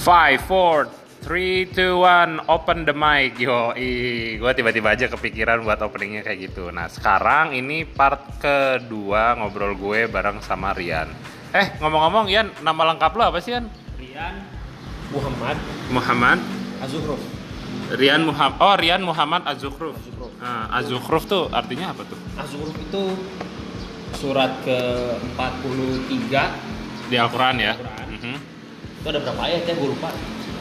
Five, four, three, two, one, open the mic. Yo, gue tiba-tiba aja kepikiran buat openingnya kayak gitu. Nah, sekarang ini part kedua ngobrol gue bareng sama Rian. Eh, ngomong-ngomong, Ian, nama lengkap lo apa sih, Ian? Rian Muhammad Muhammad Azuhruf Rian Muhammad. Oh, Rian Muhammad Azukhruf. Azukhruf. Nah, Azukhruf tuh artinya apa tuh? Azuhruf itu surat ke 43 Di Al-Qur'an ya. Al-Quran. Mhm. itu ada berapa ayat ya gue lupa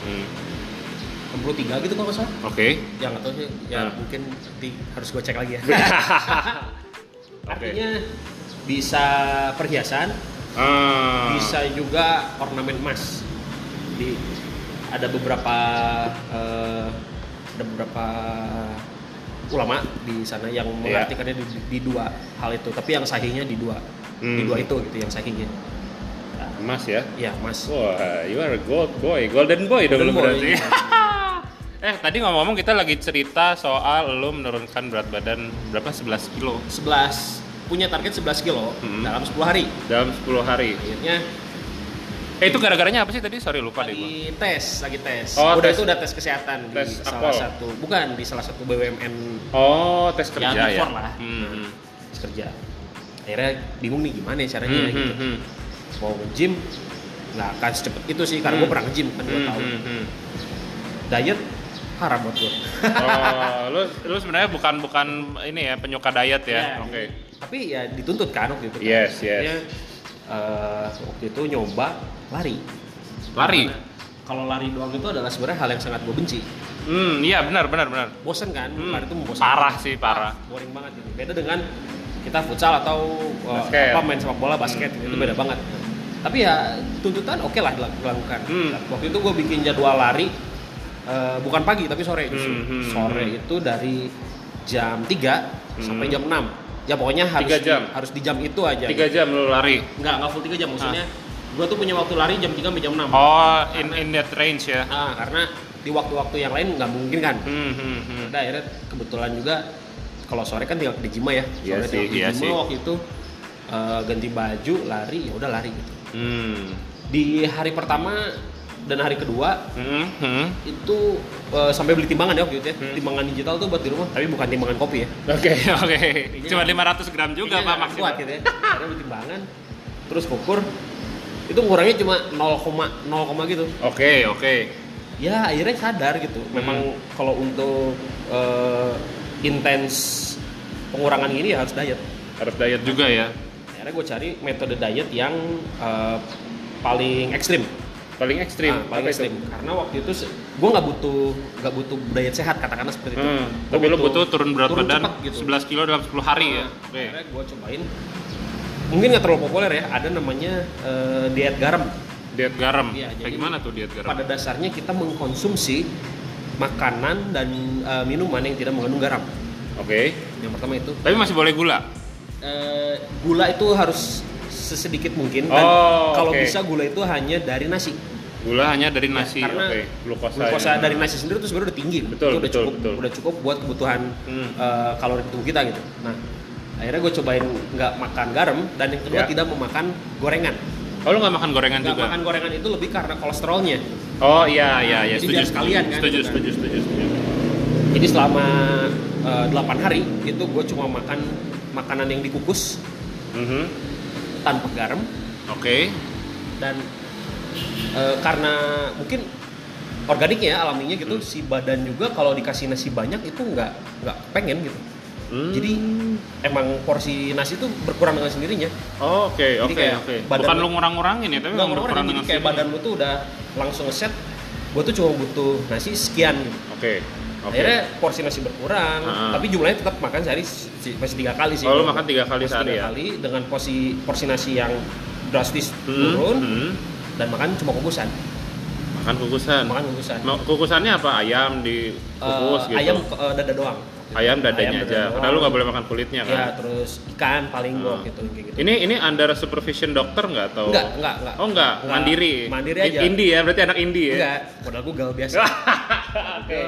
Hmm. 63 gitu kalau nggak salah Oke. yang atau sih ya Hmm. mungkin nanti harus gue cek lagi ya Oke. artinya bisa perhiasan Ah. bisa juga ornamen emas di ada beberapa eh, ada beberapa ulama di sana yang Iya. mengartikannya di, di dua hal itu tapi yang sahihnya di dua Hmm. di dua itu gitu yang sahihnya Emas ya. ya mas Wah, you are a gold boy, golden boy dong lu Golden boy. gitu berarti. eh, tadi ngomong-ngomong kita lagi cerita soal lu menurunkan berat badan berapa? 11 kilo 11 punya target 11 kilo Hmm. dalam 10 hari dalam 10 hari. akhirnya Eh, itu gara-garanya apa sih tadi? Sorry lupa deh gua. lagi tes lagi tes Oh, udah tes- itu udah tes kesehatan tes di salah akpol. satu bukan di salah satu BUMN Oh, tes kerja Ya, ya. before lah. Hmm, kerja akhirnya bingung nih gimana ya caranya hmm, gitu. hmm, hmm. mau nge-gym nggak akan secepat itu sih karena Hmm. gue pernah nge-gym kan gue Hmm, tahu hmm, hmm. diet haram buat gue Oh, lu lu sebenarnya bukan bukan ini ya penyuka diet Iya. ya. Oke. tapi ya dituntut kan waktu itu kan. Yes, yes. Akhirnya, eh, waktu itu nyoba lari Lari. Karena kalau lari doang itu adalah sebenarnya hal yang sangat gue benci Hmm, iya benar benar benar. bosen kan Hmm. lari itu membosankan Parah sih, parah. boring banget gitu beda dengan kita futsal atau eh, Basket. apa main sepak bola basket gitu. Hmm. itu Hmm. beda banget tapi ya tuntutan oke lah dilak- dilakukan Hmm. waktu itu gue bikin jadwal lari eh, bukan pagi tapi sore justru Hmm, hmm, sore hmm. itu dari jam 3 sampai Hmm. jam 6 ya pokoknya harus Tiga jam. Di, harus di jam itu aja Tiga Ah. jam lu lari. nggak nggak full 3 jam maksudnya gue tuh punya waktu lari jam 3 sampai jam 6 Oh, in in that range ya. Ah, karena di waktu-waktu yang lain nggak mungkin kan Hmm, hmm, hmm. Udah akhirnya kebetulan juga kalau sore kan tinggal di Jima ya. Sore Iya sih, tinggal di iya Jima sih. waktu itu eh, ganti baju, lari, ya udah lari gitu. Hmm. Di hari pertama dan hari kedua Hmm, hmm. itu eh, sampai beli timbangan ya waktu itu ya. Hmm. Timbangan digital tuh buat di rumah, tapi bukan timbangan kopi ya. Oke oke. Iya, Cuma 500 gram juga Kayaknya pak nggak maksimal. Kuat gitu ya. Akhirnya beli timbangan, terus ukur itu kurangnya cuma 0,0 koma gitu. Oke oke. ya akhirnya sadar gitu Hmm. memang kalau untuk eh, intens pengurangan ini ya harus diet Harus diet juga ya. akhirnya gue cari metode diet yang eh, paling ekstrim Paling ekstrim. Ah, paling Apa itu? ekstrim karena waktu itu gue nggak butuh nggak butuh diet sehat katakanlah seperti itu Hmm, Gua tapi lo butuh turun berat turun badan cepat gitu. 11 kilo dalam 10 hari ya. Nah, Oke. akhirnya gue cobain mungkin nggak terlalu populer ya ada namanya eh, diet garam Diet garam. Iya, Kayak jadi- gimana tuh diet garam? pada dasarnya kita mengkonsumsi makanan dan eh, minuman yang tidak mengandung garam Oke. yang pertama itu Tapi masih boleh gula. eh, gula itu harus sesedikit mungkin dan Oh, kalau oke. bisa gula itu hanya dari nasi Gula hanya dari nasi. karena Oke. Glukosa. glukosa ya. dari nasi sendiri itu sebenarnya udah tinggi Betul, itu udah betul, cukup betul. udah cukup buat kebutuhan Hmm. eh, kalori tubuh kita gitu nah akhirnya gue cobain nggak makan garam dan yang kedua Ya. tidak memakan gorengan Oh lo nggak makan gorengan nggak juga? makan gorengan itu lebih karena kolesterolnya Oh iya iya iya. Setuju Jadi biar setuju. sekalian kan, setuju, gitu kan. setuju setuju setuju. jadi selama eh, 8 hari itu gue cuma makan makanan yang dikukus Mhm. tanpa garam Oke. dan eh, karena mungkin organiknya ya alaminya gitu Hmm. si badan juga kalau dikasih nasi banyak itu nggak nggak pengen gitu Hmm. jadi emang porsi nasi itu berkurang dengan sendirinya Oh, Oke Jadi oke kayak oke. badan Bukan lo- lu ngurang-ngurangin ya, tapi nggak emang ngurangin, berkurang jadi dengan kayak sendirinya. badan lu tuh udah langsung ngeset gue tuh cuma butuh nasi sekian gitu. Oke. Oke. akhirnya porsi nasi berkurang Ah. tapi jumlahnya tetap makan sehari si- si- masih tiga kali sih Oh, lu makan tiga kali Masih sehari tiga ya? kali dengan porsi porsi nasi yang drastis Hmm, turun hmm. dan makan cuma kukusan Makan kukusan. makan kukusan Mau- Kukusannya apa? Ayam dikukus Eh, gitu. ayam eh, dada doang Ayam dadanya ayam dada aja. doang. Karena lu nggak boleh makan kulitnya kan. ya terus ikan paling Ah. gue gitu kayak gitu Ini ini under supervision dokter nggak atau? enggak enggak enggak Oh enggak, Enggak. mandiri. mandiri In- aja Indie ya, berarti anak indie ya. enggak modal Google biasa Ah, oke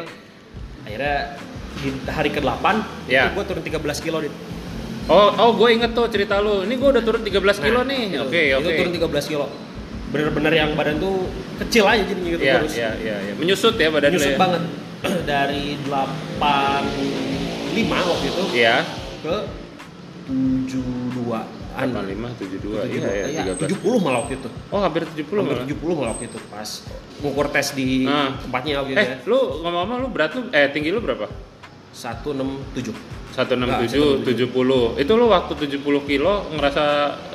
akhirnya di hari ke-8 Ya. itu gue turun 13 kilo dit. Oh, oh gue inget tuh cerita lu. Ini gue udah turun 13 kilo Nah, nih. gitu. Oke, Itu oke. turun 13 kilo bener-bener yang badan tuh kecil aja jadinya gitu Iya, kurus. iya, iya, iya. Menyusut ya badan Nyusut lo ya? banget dari 85 waktu itu Iya. ke 72 an 85, 72, iya, iya, 13. 70 malah waktu itu Oh, hampir 70 hampir malah. 70 malah waktu itu pas ngukur tes di Ah. tempatnya waktu itu Eh, lu ngomong-ngomong lu berat lu eh tinggi lu berapa? ya 167 167, 70. Itu lu waktu 70 kilo ngerasa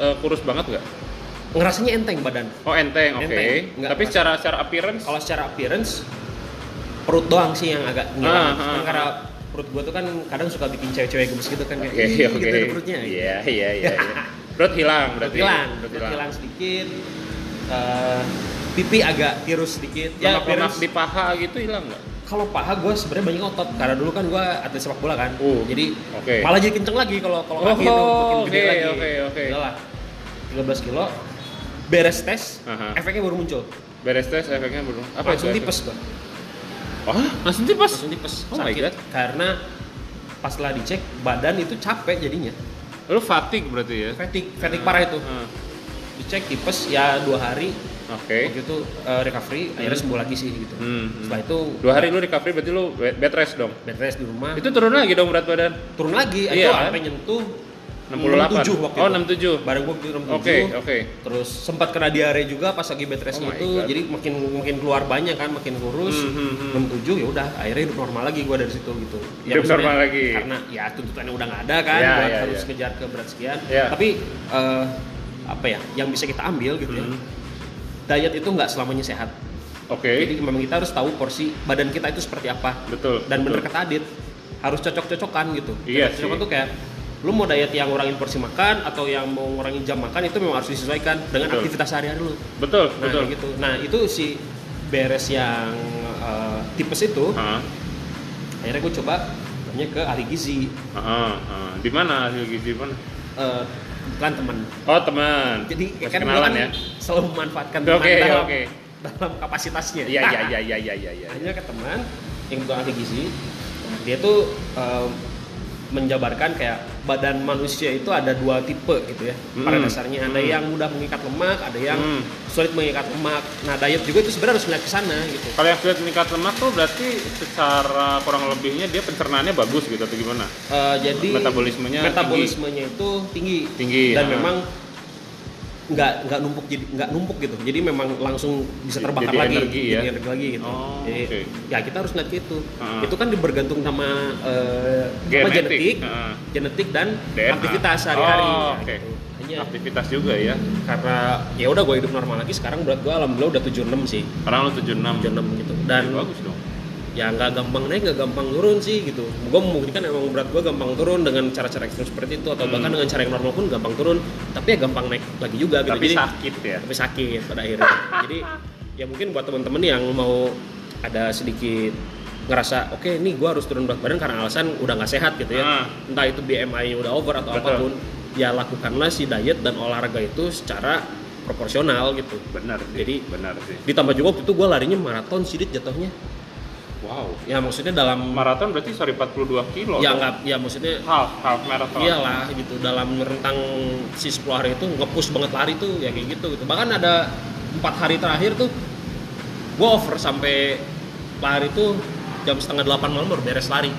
eh, kurus banget nggak? ngerasanya enteng badan Oh, enteng, oke. Enteng, nggak Tapi pas. secara secara appearance kalau secara appearance perut doang sih yang agak ngilang Ah, ah, Kan karena perut gua tuh kan kadang suka bikin cewek-cewek gemes gitu kan kayak Oke, "Ih, oke. gitu ada perutnya gitu. Iya, iya, iya. iya. Perut hilang perut berarti. ya? hilang Perut perut hilang. hilang Ya, sedikit eh, pipi agak tirus sedikit Ya, Lemak-lemak appearance- di paha gitu hilang nggak? kalau paha gue sebenarnya banyak otot karena dulu kan gue atlet sepak bola kan Oh, jadi oke. malah jadi kenceng lagi kalau kalau Oh, kaki itu makin gede oke, lagi oke, oke. Udah lah 13 kilo beres tes Aha. efeknya baru muncul Beres tes efeknya belum. Apa langsung itu? tipes gue Oh, langsung tipes. langsung tipes Oh my God. karena pas lah dicek badan itu capek jadinya Lu fatigue berarti ya? fatigue fatigue parah itu Ah, dicek tipes ya dua hari Oke. waktu itu eh, recovery akhirnya sembuh lagi sih gitu Hmm, hmm. setelah itu Dua hari lu recovery berarti lu bed bed rest dong. bed rest di rumah Itu turun lagi dong berat badan. turun Iya, lagi itu kan? sampai nyentuh 68. 67 waktu Oh, itu. 67. bareng gua waktu itu 67 Oke, oke. terus sempat kena diare juga pas lagi bed Oh rest my gitu God. jadi makin makin keluar banyak kan makin kurus Hmm, hmm, hmm. 67 ya udah akhirnya hidup normal lagi gua dari situ gitu Ya, Hidup normal maksudnya, lagi. karena ya tuntutannya udah nggak ada kan Ya, gua ya, harus ya. kejar ke berat sekian Ya. tapi eh, apa ya yang bisa kita ambil gitu Hmm. ya diet itu nggak selamanya sehat Oke. jadi memang kita harus tahu porsi badan kita itu seperti apa Betul. dan bener betul. kan? kata Adit harus cocok-cocokan gitu Iya cocok-cocokan sih. tuh kayak lu mau diet yang ngurangin porsi makan atau yang mau ngurangin jam makan itu memang harus disesuaikan dengan Betul. aktivitas sehari-hari lu Betul, nah betul. kayak gitu nah itu si beres yang eh, tipes itu Ah, akhirnya gue coba tanya ke ahli gizi ah, ah, ah. Di mana hasil gizi di mana? eh kebetulan teman Oh, teman. jadi Masih kan gue kenalan kan ya. selalu memanfaatkan Oke, ya, teman dalam, oke. dalam kapasitasnya Iya, iya, iya, iya, iya, iya, iya. hanya ke teman yang bukan ahli gizi dia tuh em, menjabarkan kayak badan manusia itu ada dua tipe gitu ya pada Mm. dasarnya ada Mm. yang mudah mengikat lemak ada yang Mm. sulit mengikat lemak nah diet juga itu sebenarnya harus melihat ke sana gitu Kalau yang sudah meningkat lemak tuh berarti secara kurang lebihnya dia pencernaannya bagus gitu atau gimana? Eh, jadi Metabolismenya metabolismenya itu tinggi Tinggi, dan ya. memang nggak nggak numpuk jadi nggak numpuk gitu jadi memang langsung bisa terbakar Jadi lagi energi ya? jadi energi lagi gitu Oh, jadi oke. ya kita harus lihat itu Ah. itu kan bergantung sama eh, apa, Genetik, genetik ah. genetik dan DNA. aktivitas sehari-hari Oh, ya, oke. gitu. hanya Aktivitas juga ya. karena ya udah gue hidup normal lagi sekarang berat gue alhamdulillah udah 76 sih Orang lu 76. 76 gitu Dan dan bagus dong. ya nggak gampang naik nggak gampang turun sih gitu gue membuktikan emang berat gue gampang turun dengan cara-cara ekstrem seperti itu atau Hmm. bahkan dengan cara yang normal pun gampang turun tapi ya gampang naik lagi juga gitu Tapi Jadi- sakit ya. tapi sakit pada akhirnya jadi ya mungkin buat teman-teman yang mau ada sedikit ngerasa oke ini gue harus turun berat badan karena alasan udah nggak sehat gitu ya Ah. entah itu BMI nya udah over atau Betul. apapun ya lakukanlah si diet dan olahraga itu secara proporsional gitu Benar sih. Jadi- benar sih. ditambah juga waktu itu gue larinya maraton sidit jatuhnya Wow. ya maksudnya dalam Maraton berarti sorry 42 kilo. ya dong. nggak ya maksudnya half half marathon. iyalah gitu dalam rentang si 10 hari itu ngepush banget lari tuh ya kayak gitu gitu bahkan ada empat hari terakhir tuh gua over sampai lari tuh jam setengah delapan malam baru beres lari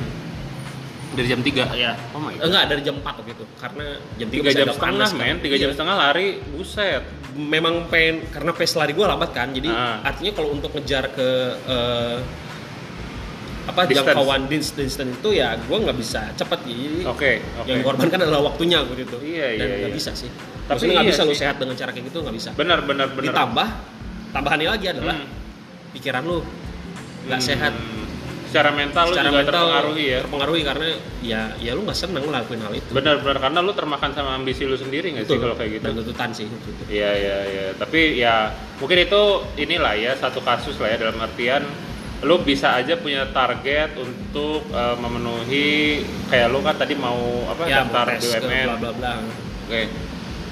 Dari jam 3. ya Oh my god. Eh, enggak dari jam 4 waktu itu karena jam 3 3 jam setengah kan? men, 3 Iya. jam setengah lari, buset. memang pengen karena pace lari gua lambat kan jadi Ah. artinya kalau untuk ngejar ke eh, apa Distance. jangkauan dins- distance itu ya gua nggak bisa cepet jadi Oke, oke. yang dikorbankan adalah waktunya waktu itu Iya, dan iya, nggak iya. bisa sih tapi Tapi Maksudnya nggak iya bisa lu sih. sehat dengan cara kayak gitu nggak bisa Benar benar benar. ditambah tambahannya lagi adalah Hmm. pikiran lu nggak Hmm. sehat Secara mental lu secara juga mental terpengaruhi ya. terpengaruhi karena ya ya lu nggak seneng ngelakuin hal itu Benar benar karena lu termakan sama ambisi lu sendiri nggak sih kalau kayak gitu? dan tuntutan sih waktu itu. Iya iya iya. Tapi ya mungkin itu inilah ya satu kasus lah ya dalam artian lu bisa aja punya target untuk eh, memenuhi kayak lu kan tadi mau apa ya mau daftar tes ke BUMN. bla bla bla Oke.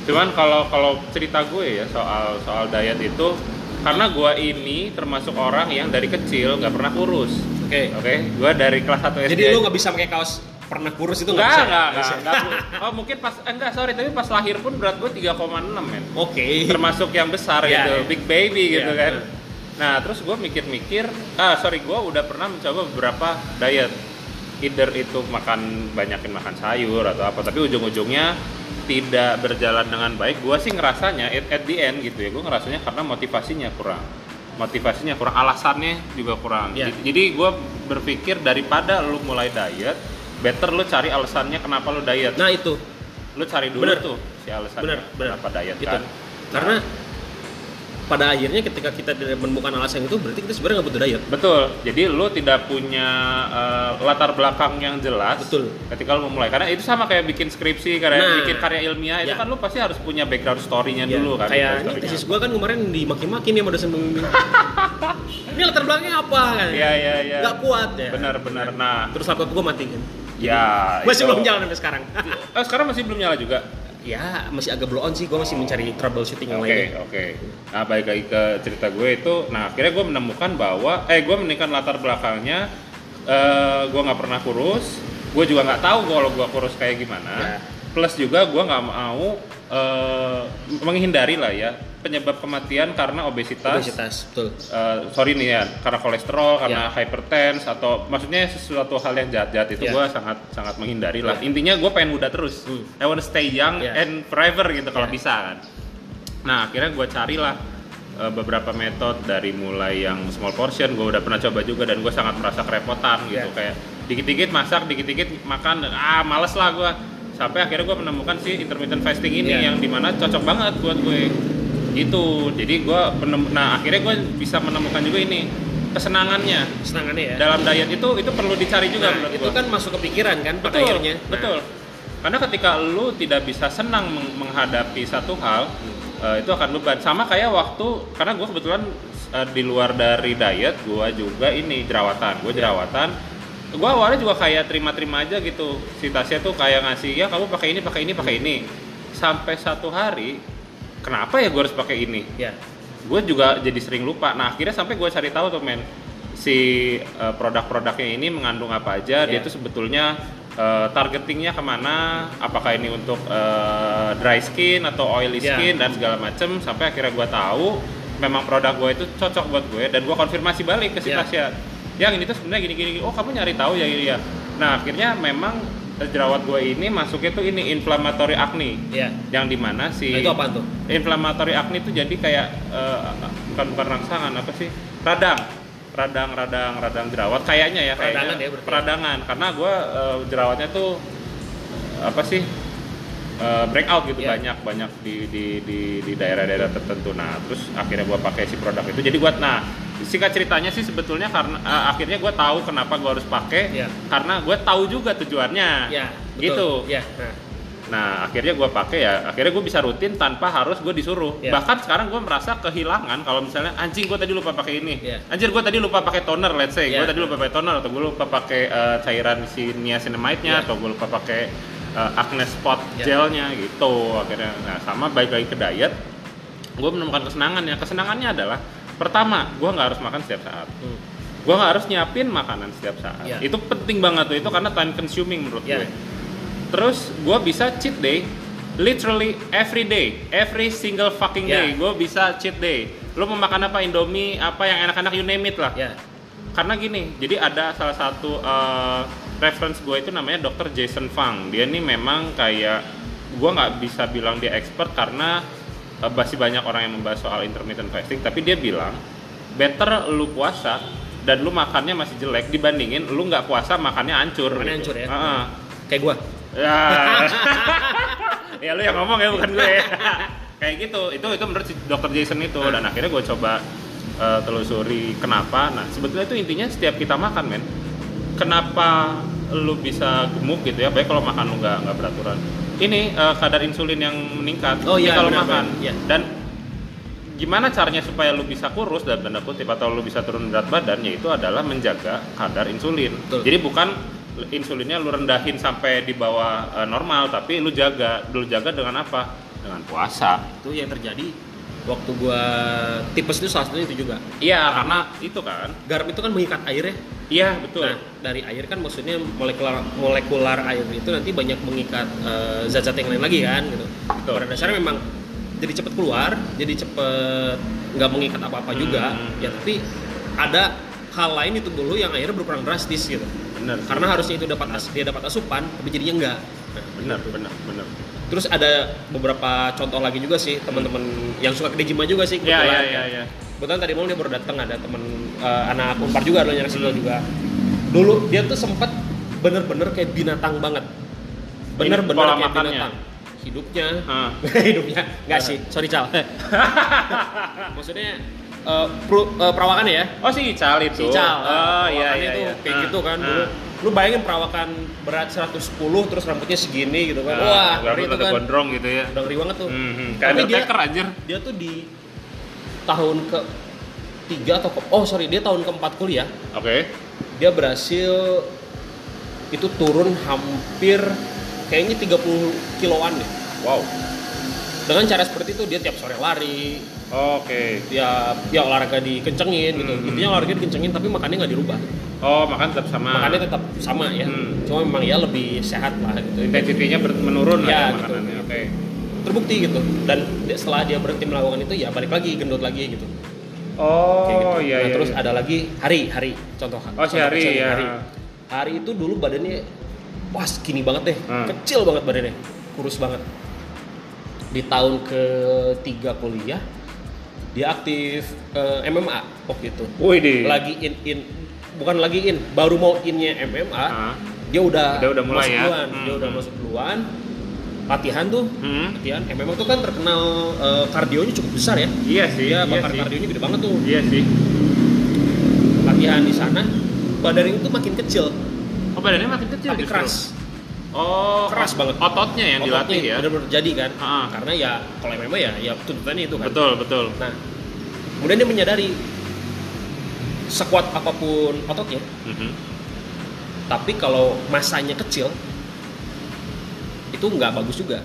Cuman kalau kalau cerita gue ya soal soal diet itu karena gue ini termasuk orang yang dari kecil nggak pernah kurus. oke Oke, gue dari kelas 1 SD. jadi lu nggak bisa pakai kaos pernah kurus itu Enggak, nggak bisa ya? enggak, Nggak enggak, bisa. enggak. Oh, mungkin pas eh, enggak sorry, tapi pas lahir pun berat gue 3,6 men. Oke. Termasuk yang besar Iya, gitu, iya. big baby gitu Iya, kan. bener. Nah, terus gue mikir-mikir, ah sorry, gue udah pernah mencoba beberapa diet. Either itu makan banyakin makan sayur atau apa, tapi ujung-ujungnya tidak berjalan dengan baik. Gue sih ngerasanya at, at the end gitu ya, gue ngerasanya karena motivasinya kurang motivasinya kurang, alasannya juga kurang. Iya. Jadi- Jadi gue berpikir daripada lu mulai diet, better lu cari alasannya kenapa lu diet Nah itu lu cari dulu Bener. tuh si alasan benar benar kenapa diet Gitu. kan Karena pada akhirnya ketika kita tidak menemukan alasan itu berarti kita sebenarnya nggak butuh diet. betul jadi lu tidak punya eh, latar belakang yang jelas Betul. ketika lu memulai karena itu sama kayak bikin skripsi karya Nah. bikin karya ilmiah itu Ya. kan lu pasti harus punya background story-nya Ya, dulu kan background kayak ini story-nya. tesis gua kan kemarin dimaki-maki nih sama dosen pembimbing. ini latar belakangnya apa kan? Iya, iya, iya. Nggak kuat ya. benar benar nah Terus laptop gua mati kan. ya Masih itu. belum jalan sampai sekarang. oh, sekarang masih belum nyala juga ya, masih agak blow on sih. Gua masih mencari troubleshooting yang Oke, lainnya. oke. Nah, balik lagi ke cerita gue itu, nah akhirnya gue menemukan bahwa, eh gue menemukan latar belakangnya, eh gue nggak pernah kurus, gue juga nggak tahu kalau gue kurus kayak Ya. gimana. Plus juga gue nggak mau eh, menghindari lah ya penyebab kematian karena obesitas. Obesitas, betul. Eh, sorry nih ya, karena kolesterol, karena Ya. hypertense atau maksudnya sesuatu hal yang jahat-jahat itu Ya. Hmm. gue sangat sangat menghindari lah. Intinya gue pengen muda terus. I wanna stay young Ya. and forever gitu kalau Ya. bisa kan. Nah akhirnya gue carilah eh, beberapa metode dari mulai yang small portion gue udah pernah coba juga dan gue sangat merasa kerepotan gitu Ya. kayak dikit-dikit masak, dikit-dikit makan, dan, ah males lah gue. Sampai akhirnya gue menemukan si intermittent fasting ini Ya. yang dimana cocok banget buat gue gitu jadi gue nah akhirnya gue bisa menemukan juga ini kesenangannya Senangannya ya. dalam diet itu itu perlu dicari juga Nah, menurut itu gua. kan masuk ke pikiran kan pada betul akhirnya. Nah, betul karena ketika lu tidak bisa senang meng- menghadapi satu hal eh, itu akan beban sama kayak waktu karena gue kebetulan eh, di luar dari diet gue juga ini jerawatan gue jerawatan gue awalnya juga kayak terima-terima aja gitu si Tasya tuh kayak ngasih ya kamu pakai ini pakai ini pakai ini sampai satu hari kenapa ya gue harus pakai ini Ya. gue juga jadi sering lupa nah akhirnya sampai gue cari tahu tuh men si eh, produk-produknya ini mengandung apa aja dia Iya. itu sebetulnya eh, targetingnya kemana apakah ini untuk eh, dry skin atau oily Iya. skin dan segala macem sampai akhirnya gue tahu memang produk gue itu cocok buat gue dan gue konfirmasi balik ke si Iya. Tasya yang ini tuh sebenarnya gini-gini oh kamu nyari tahu ya ini ya nah akhirnya memang eh, jerawat gue ini masuknya tuh ini inflammatory acne Ya. yang dimana si Nah, itu apaan tuh? inflammatory acne itu jadi kayak eh, bukan bukan rangsangan apa sih radang radang radang radang jerawat kayaknya ya kayaknya Peradangan ya berarti. peradangan karena gue jerawatnya tuh apa sih eh, breakout gitu Iya. banyak banyak di di di di daerah-daerah tertentu nah terus akhirnya gue pakai si produk itu jadi gue nah singkat ceritanya sih sebetulnya karena eh, akhirnya gue tahu kenapa gue harus pakai Iya. karena gue tahu juga tujuannya Ya, gitu betul. Ya. Nah, Nah, akhirnya gue pakai ya, akhirnya gue bisa rutin tanpa harus gue disuruh. Iya. Bahkan sekarang gue merasa kehilangan kalau misalnya anjing gue tadi lupa pakai ini, Iya. anjir gue tadi lupa pakai toner, let's say, gue Iya. tadi lupa pakai toner atau gue lupa pakai eh, cairan si niacinamide-nya Iya. atau gue lupa pakai eh, acne spot Iya. gelnya gitu. Akhirnya, nah sama baik lagi ke diet, gue menemukan kesenangan ya. Kesenangannya adalah pertama, gue nggak harus makan setiap saat. hmm. Gue nggak harus nyiapin makanan setiap saat. Iya. Itu penting banget tuh, itu karena time consuming menurut Iya. gue. Terus gue bisa cheat day literally every day, every single fucking day. Ya. Gue bisa cheat day. Lo mau makan apa? Indomie, apa yang enak-enak you name it lah. Ya. Karena gini, jadi ada salah satu eh, reference gue itu namanya Dr. Jason Fang. Dia nih memang kayak gue nggak bisa bilang dia expert karena eh, masih banyak orang yang membahas soal intermittent fasting, tapi dia bilang better lu puasa dan lu makannya masih jelek dibandingin lu nggak puasa makannya hancur. gitu. Makannya hancur ya. Heeh. Kayak gua. Ya. ya lu yang ngomong ya bukan gue. Kayak gitu. Itu itu menurut si dokter Jason itu dan akhirnya gue coba eh, telusuri kenapa. Nah, sebetulnya itu intinya setiap kita makan, men. Kenapa lu bisa gemuk gitu ya? Baik kalau makan lu nggak nggak beraturan. Ini eh, kadar insulin yang meningkat Oh, ini iya, kalau benar, makan. benar. Iya. Dan gimana caranya supaya lu bisa kurus dan tanda kutip atau lu bisa turun berat badan yaitu adalah menjaga kadar insulin. Betul. Jadi bukan insulinnya lu rendahin sampai di bawah eh, normal tapi lu jaga, lu jaga dengan apa? Dengan puasa. Itu yang terjadi waktu gua tipes itu salah satunya itu juga Iya, karena itu kan. garam itu kan mengikat air ya Iya, betul. Nah, dari air kan maksudnya molekular molekular air itu nanti banyak mengikat eh, zat-zat yang lain lagi kan gitu. Pada dasarnya memang jadi cepet keluar, jadi cepet nggak mengikat apa-apa juga. Hmm. Ya tapi ada hal lain itu dulu yang akhirnya berkurang drastis gitu. Bener. Karena harusnya itu dapat as- dia dapat asupan, tapi jadinya enggak. bener, bener, bener. Terus ada beberapa contoh lagi juga sih teman-teman yang suka ke Digima juga sih Iya, iya, kebetulan. iya, iya. Kebetulan tadi malam dia baru datang ada temen eh, anak umpar juga ada yang situ juga. Dulu dia tuh sempet bener-bener kayak binatang banget. Bener-bener Pola kayak makannya. binatang. Hidupnya, Ah. hidupnya nggak sih, sorry Cal. Maksudnya eh, pro- eh, perawakan ya? Oh, si Ical Si itu. Cal, Oh, iya, perawakannya iya, tuh iya. kayak Ah, gitu kan ah. dulu. Lu bayangin perawakan berat 110 terus rambutnya segini gitu kan. Ah, Wah, ngeri rambut itu agak kan. gondrong gitu ya. Udah ngeri banget tuh Mhm, Kayak Tapi dia- Undertaker anjir. dia tuh di tahun ke tiga atau ke- oh sorry dia tahun keempat kuliah Oke. dia berhasil itu turun hampir kayaknya 30 kiloan deh Wow. dengan cara seperti itu dia tiap sore lari Oke. tiap ya olahraga dikencengin gitu Hmm. intinya olahraga dikencengin tapi makannya nggak dirubah Oh, makan tetap sama. makannya tetap sama ya Hmm. cuma memang ya lebih sehat lah gitu intensitinya ber- menurun lah Iya, ya, gitu. makanannya. Oke. terbukti gitu dan dia- setelah dia berhenti melakukan itu ya balik lagi gendut lagi gitu Oh, Kayak gitu. iya Nah, iya. terus iya. ada lagi hari hari contoh Oh, si contoh Hari, kecil, ya. Hari itu dulu badannya wah skinny banget deh Hmm. kecil banget badannya kurus banget di tahun ketiga kuliah dia aktif eh, MMA waktu itu Wih, di. lagi in in bukan lagi in baru mau innya MMA Ah. dia udah Udah- udah mulai masuk ya. duluan dia Hmm. udah masuk duluan latihan tuh Hmm. latihan MMA tuh kan terkenal eh, kardionya cukup besar ya Iya sih. iya dia bakar sih. kardionya gede banget tuh Iya sih. latihan di sana badannya itu makin kecil Oh, badannya makin kecil tapi justru. keras Oh, Keras banget. Ototnya yang dilatih ya. benar jadi kan Ah. karena ya kalau MMA ya ya tuntutannya itu kan Betul, betul. nah kemudian dia menyadari sekuat apapun ototnya Mhm. tapi kalau masanya kecil itu nggak bagus juga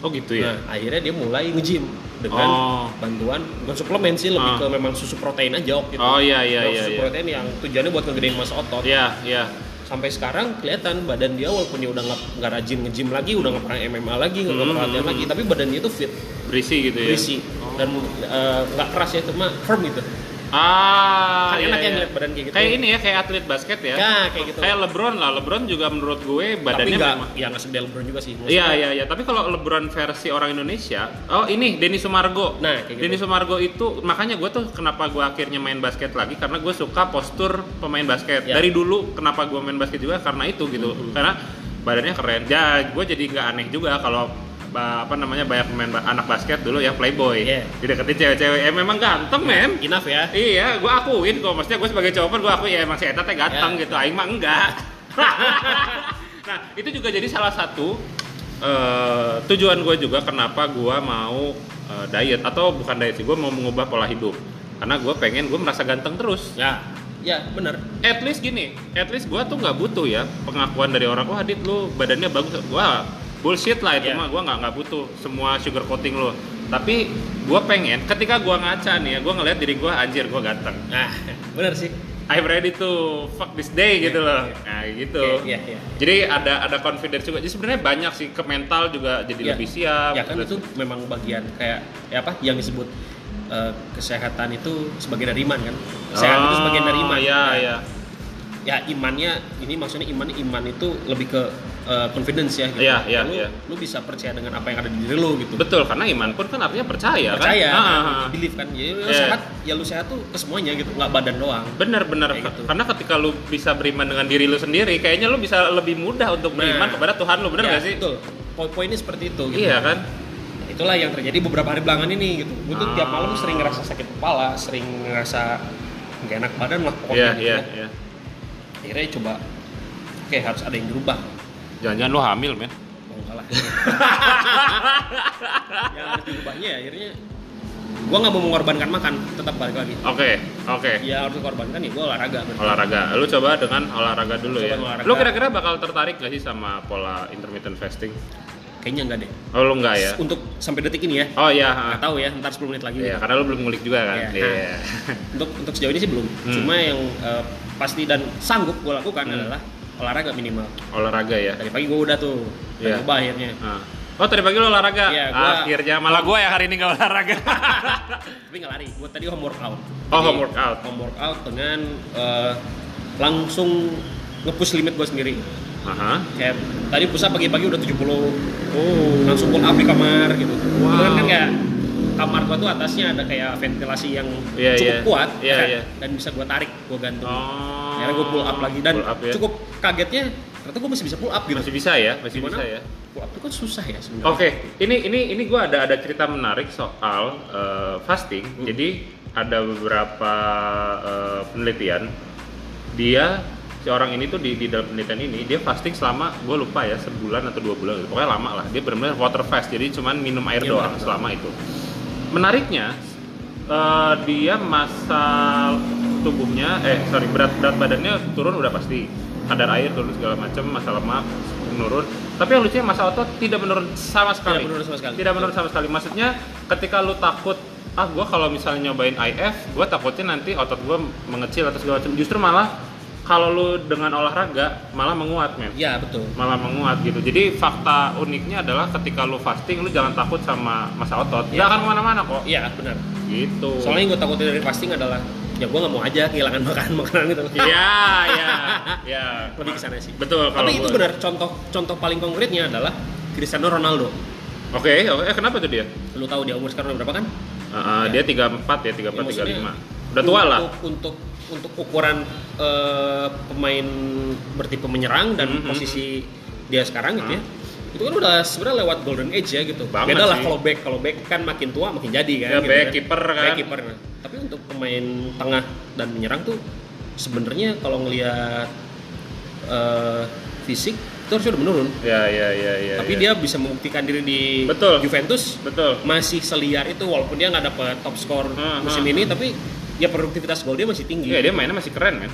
Oh, gitu ya. nah gitu kan. akhirnya dia mulai nge-gym dengan oh. bantuan bukan suplemen sih lebih Ah. ke memang susu protein aja waktu itu Oh, iya iya Memang iya susu iya. protein yang tujuannya buat ngegedein masa otot Iya, iya. sampai sekarang kelihatan badan dia walaupun dia udah nggak nggak rajin nge-gym lagi udah nggak pernah MMA lagi nggak Hmm. pernah latihan lagi tapi badannya itu fit Berisi gitu ya. berisi Oh. dan eh, nggak keras ya cuma firm gitu Ah, Kan iya, enak ya iya. ngeliat badan kayak gitu. Kayak ini ya, kayak atlet basket ya. Nah, kayak gitu Kayak LeBron lah, LeBron juga menurut gue tapi badannya nggak memang- ya nggak segede LeBron juga sih Iya iya iya, tapi kalau LeBron versi orang Indonesia, oh ini Denny Sumargo. Nah, kayak gitu. Denny Sumargo itu makanya gue tuh kenapa gue akhirnya main basket lagi karena gue suka postur pemain basket. Ya. Dari dulu kenapa gue main basket juga karena itu gitu. Karena badannya keren. Ya gue jadi nggak aneh juga kalau ba- apa namanya banyak pemain ba- anak basket dulu yang playboy. Iya. Dideketin cewek-cewek, eh memang ganteng men. enough ya Iya, gue akuin kok. Maksudnya gue sebagai cowok pun gue akuin ya emang si Eta teh ganteng Ya. gitu. Aing mah enggak. nah, itu juga jadi salah satu eh, tujuan gue juga kenapa gue mau eh, diet atau bukan diet sih, gue mau mengubah pola hidup. Karena gue pengen gue merasa ganteng terus. ya ya bener At least gini, at least gue tuh nggak butuh ya pengakuan dari orang. Wah, Dit lu badannya bagus. Wah, bullshit lah itu Ya. mah. Gue nggak nggak butuh semua sugar coating lu. Tapi gue pengen ketika gue ngaca nih ya, gue ngeliat diri gue anjir gue ganteng. nah bener sih I'm ready to fuck this day gitu loh. Nah, gitu. Iya, iya, iya. Jadi ada ada confidence juga. Jadi sebenarnya banyak sih ke mental juga jadi Iya. lebih siap. ya kan Terus- itu memang bagian kayak ya apa yang disebut eh, kesehatan itu sebagai dari iman kan sehat itu Oh, sebagian dari iman Iya, Nah, iya. ya imannya ini maksudnya iman iman itu lebih ke uh, confidence ya gitu. Iya, iya, lu, iya. lu bisa percaya dengan apa yang ada di diri lu gitu. Betul, karena iman pun kan artinya percaya, percaya, kan. Ah, ah, ah. belief kan. Jadi lu Iya. sehat, ya lu sehat tuh ke semuanya gitu, nggak badan doang. Bener bener Kayak gitu. karena ketika lu bisa beriman dengan diri lu sendiri, kayaknya lu bisa lebih mudah untuk Nah. beriman kepada Tuhan lu, bener Ya, nggak sih? Betul. Poin-poinnya seperti itu gitu. Iya kan? Itulah yang terjadi beberapa hari belakangan ini gitu. Gue tuh Ah. tiap malam sering ngerasa sakit kepala, sering ngerasa nggak enak badan lah pokoknya. Iya, gitu iya, iya. ya. Akhirnya coba, oke harus ada yang dirubah. Jangan-jangan lu hamil, men. Oh, enggak lah. yang harus dirubahnya ya, akhirnya gua nggak mau mengorbankan makan, tetap balik lagi. Oke, oke. Ya harus dikorbankan ya gua olahraga. bener. olahraga lu coba dengan olahraga dulu Coba ya olahraga. lu kira-kira bakal tertarik gak sih sama pola intermittent fasting kayaknya enggak deh Oh lu enggak ya? untuk sampai detik ini ya Oh iya. ah. nggak tahu ya ntar 10 menit lagi Iya, karena lu belum ngulik juga kan. Iya. Iya. untuk untuk sejauh ini sih belum Hmm. cuma yang eh, pasti dan sanggup gue lakukan adalah olahraga minimal Olahraga ya. tadi pagi gue udah tuh Iya. yeah. coba akhirnya Ah. Oh tadi pagi lu olahraga? Iya, gua- ya Akhirnya malah gua yang hari ini nggak olahraga. tapi nggak lari gue tadi home oh workout Jadi, home workout. home workout dengan eh, langsung nge-push limit gue sendiri Aha. kayak tadi pusat pagi-pagi udah 70 Oh. langsung pull up di kamar gitu Wow. Kebetulan kan kayak kamar gua tuh atasnya ada kayak ventilasi yang Iya, cukup iya. kuat Iya, kan? iya. dan bisa gua tarik gua gantung Oh. akhirnya gua pull up lagi dan Pull up ya. cukup kagetnya ternyata gua masih bisa pull up gitu masih Oh. bisa ya, masih Gimana? bisa ya. pull up itu kan susah ya sebenarnya Oke, ini ini ini gue ada ada cerita menarik soal eh, fasting. Hmm. Jadi ada beberapa eh, penelitian dia si orang ini tuh di, di dalam penelitian ini dia fasting selama gue lupa ya sebulan atau dua bulan gitu. pokoknya lama lah. Dia benar-benar water fast jadi cuman minum air Iya, doang benar. selama itu. Menariknya eh, dia masa tubuhnya eh sorry berat berat badannya turun udah pasti kadar air turun segala macam masa lemak menurun tapi yang lucunya masa otot tidak menurun sama sekali Tidak menurun sama sekali. Tidak menurun sama sekali. maksudnya ketika lu takut ah gua kalau misalnya nyobain IF gua takutnya nanti otot gua mengecil atau segala macam justru malah kalau lu dengan olahraga malah menguat men iya betul malah menguat gitu. Jadi fakta uniknya adalah ketika lu fasting lu jangan takut sama masa otot. Nggak Iya. akan kemana-mana kok. iya benar Gitu. soalnya yang gua takutin dari fasting adalah ya gua nggak mau aja kehilangan makanan makanan gitu Iya, iya, iya. lebih ke sana sih Betul kalau tapi itu gua- benar contoh contoh paling konkretnya adalah Cristiano Ronaldo Oke, oke. Eh, kenapa tuh dia? lu tahu dia umur sekarang udah berapa kan Uh, Ya. Dia 34 ya, 34 maksudnya 35. Udah tua lah. Untuk untuk, untuk ukuran eh, pemain bertipe menyerang dan Mhm. posisi dia sekarang gitu ya. Itu kan udah sebenarnya lewat golden age ya gitu. Mm-hmm. Banget Beda lah sih. kalau back, kalau back kan makin tua makin jadi kan. Ya, gitu back, kan. kiper kan. Back, kiper. Nah, Tapi untuk pemain tengah dan menyerang tuh sebenarnya kalau ngelihat eh, fisik itu harusnya udah menurun. Ya, ya, ya, ya. Tapi dia bisa membuktikan diri di Betul. Juventus betul. masih seliar itu walaupun dia nggak dapet top skor Hmm, musim hmm. ini tapi ya produktivitas gol dia masih tinggi. Iya, dia mainnya masih keren men.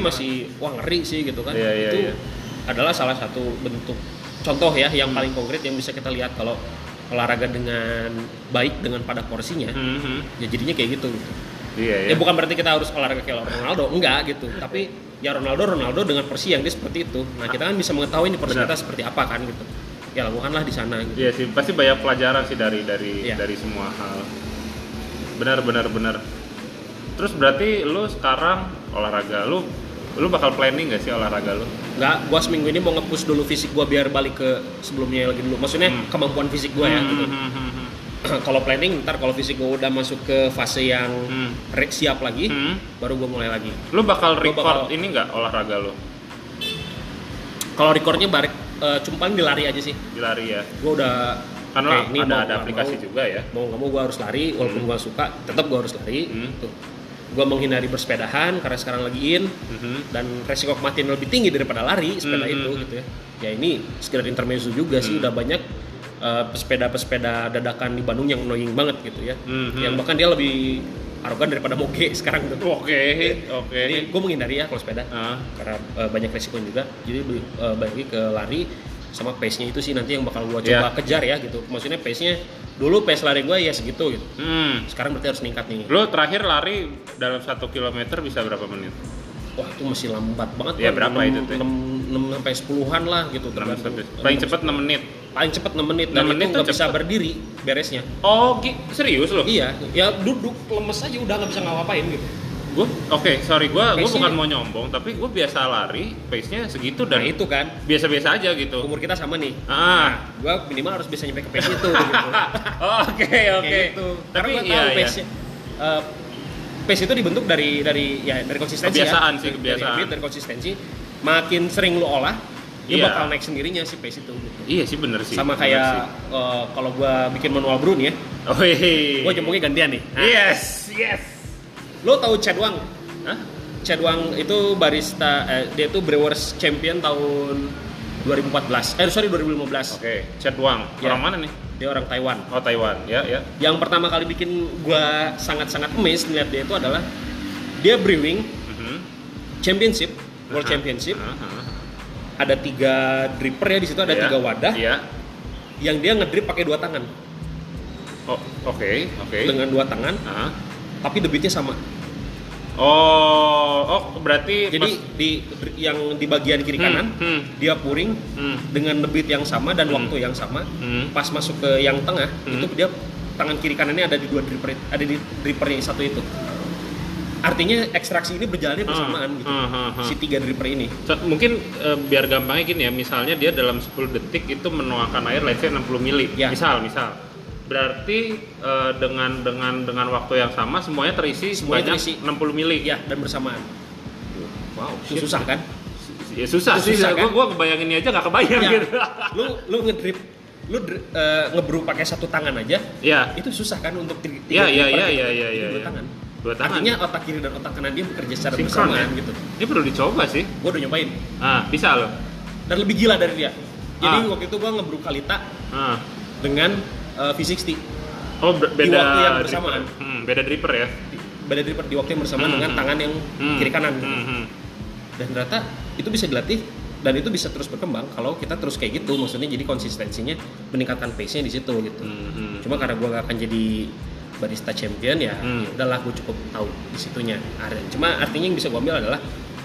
Keren masih wah ngeri sih gitu kan. Iya, iya, itu iya. adalah salah satu bentuk contoh ya yang paling konkret yang bisa kita lihat kalau olahraga dengan baik dengan pada porsinya banget. Mhm. ya jadinya kayak gitu. gitu. Iya, iya. Ya bukan berarti kita harus olahraga kayak Ronaldo, enggak gitu. Tapi ya Ronaldo Ronaldo dengan porsi yang dia seperti itu. Nah, kita kan bisa mengetahui ini porsi Benar. kita seperti apa kan gitu. Ya lakukanlah di sana gitu. Iya sih, pasti banyak pelajaran sih dari dari Iya. dari semua hal. Benar benar benar. Terus berarti lu sekarang olahraga lu lu bakal planning gak sih olahraga lu? Nggak, gua seminggu ini mau nge-push dulu fisik gua biar balik ke sebelumnya lagi dulu. Maksudnya Hmm. kemampuan fisik gua ya. gitu. Hmm, hmm, hmm, kalau planning ntar kalau fisik gua udah masuk ke fase yang Hmm. re- siap lagi, Hmm. baru gua mulai lagi. Lu bakal Gua record bakal- ini nggak olahraga lu? Kalau recordnya barek, eh, cuma paling di lari aja sih. Di lari ya. Gua udah Karena kayak ini Kan ada mau ada nggak aplikasi mau, juga ya. Mau nggak mau gua harus lari, walaupun gua suka, tetap gua harus lari. Hmm. Tuh. Gua menghindari bersepedahan karena sekarang lagi in Mhm. dan resiko kematian lebih tinggi daripada lari sepeda Hmm, itu hmm, gitu ya. Ya ini sekedar intermezzo juga sih Hmm. udah banyak eh, pesepeda-pesepeda dadakan di Bandung yang annoying banget gitu ya. Hmm, Oh, hmm. Yang bahkan dia lebih arogan daripada moge sekarang tuh. Oke, oke. Jadi gue menghindari ya kalau sepeda Ah, karena eh, banyak resiko juga. Jadi lebih eh, balik lagi ke lari sama pace-nya itu sih nanti yang bakal gue Iya. coba kejar ya gitu. Maksudnya pace-nya dulu pace lari gue ya segitu gitu. Hmm. Sekarang berarti harus meningkat nih. Lu terakhir lari dalam satu kilometer bisa berapa menit? Wah itu masih lambat banget. Iya, Bang. berapa Enam- itu, Teh? enam enam sampai sepuluhan lah gitu. Enam tergantung. sampai- Paling cepat 6 menit. paling cepat 6 menit dan Enam menit itu tuh nggak bisa cepet. berdiri beresnya. Oh, gi- serius lu? Iya, ya duduk lemes aja udah nggak bisa ngapain gitu. gue oke sorry gue gue Pace-nya- ya? bukan mau nyombong tapi gue biasa lari pace nya segitu Nah dan itu kan biasa-biasa aja gitu umur kita sama nih. ah Gua minimal harus bisa nyampe ke pace itu gitu. Oh, oke oke Kayak gitu. tapi Karena gua iya tahu iya pace-nya, eh, pace itu dibentuk dari dari ya dari konsistensi Kebiasaan sih, ya. Dari- kebiasaan. Dari, habit, dari konsistensi. Makin sering lu olah, dia Iya. bakal naik sendirinya si pace itu. gitu. iya sih bener sih Sama bener sih. kayak eh, kalau gua bikin manual brew nih ya, oh iya gua jempolnya gantian nih. Nah, yes yes Lo tahu Chad Wang? Hah? Chad Wang itu barista eh, dia itu Brewers Champion tahun 2014. Eh sorry 2015. oke Chad Wang Iya. orang mana nih Dia orang Taiwan. oh Taiwan ya ya Yang pertama kali bikin gua sangat-sangat amazed melihat dia itu adalah dia brewing Mhm. championship, world Aha, championship. aha. Iya. Ada tiga dripper ya di situ ada Iya, tiga wadah. iya yang dia ngedrip pakai dua tangan Oh, oke, oke. dengan dua tangan Ah. tapi debitnya sama Oh, oh berarti jadi pas- di yang di bagian kiri Hmm, kanan hmm, dia puring hmm, dengan debit yang sama dan Hmm. waktu yang sama hmm. pas masuk ke yang tengah Hmm. itu dia tangan kiri kanannya ada di dua dripper ada di dripper yang satu itu artinya ekstraksi ini berjalannya bersamaan gitu Ah, ah, ah. si tiga dripper ini So, mungkin eh, biar gampangnya gini ya, misalnya dia dalam 10 detik itu menuangkan air let's say 60 mili. Ya. Misal, misal. Berarti eh, dengan dengan dengan waktu yang sama semuanya terisi Semuanya sebanyak 60 terisi. mili. ya dan bersamaan Wow, itu susah kan Ya susah Itu sih. susah, kan? Gua gua kebayanginnya aja nggak kebayang Ya. gitu. lu lu ngedrip lu dri- eh, ngebrew pakai satu tangan aja Iya. itu susah kan untuk tiga Iya, iya, dripper iya, gitu. iya, iya, Jadi iya. dua tangan Dua tangan. artinya otak kiri dan otak kanan dia bekerja secara Hmm. Sinkron, bersamaan ya? gitu Ini perlu dicoba sih. gua udah nyobain Ah, bisa loh. dan lebih gila dari dia jadi Ah. waktu itu gua ngebrew kalita Ah. dengan eh, V60 Oh, ber- Di beda waktu yang dripper. bersamaan. Hmm, beda dripper ya. beda dripper di waktu yang bersamaan Hmm, dengan hmm. tangan yang Hmm, kiri kanan hmm, hmm. dan ternyata itu bisa dilatih dan itu bisa terus berkembang kalau kita terus kayak gitu maksudnya jadi konsistensinya meningkatkan pace-nya di situ gitu Hmm, hmm. cuma karena gua nggak akan jadi barista champion ya Hmm. ya udahlah gue cukup tahu di situnya Ada- cuma artinya yang bisa gua ambil adalah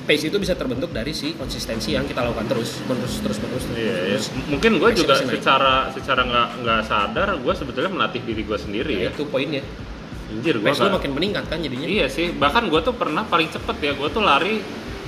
pace itu bisa terbentuk dari si konsistensi yang kita lakukan terus terus terus terus terus, Iya, iya. terus. Nah, M- mungkin gue Passion juga masih naik. secara secara nggak nggak sadar gue sebetulnya melatih diri gue sendiri Nah, ya itu poinnya anjir gue pace lu makin meningkat kan jadinya iya sih bahkan gue tuh pernah paling cepet ya gue tuh lari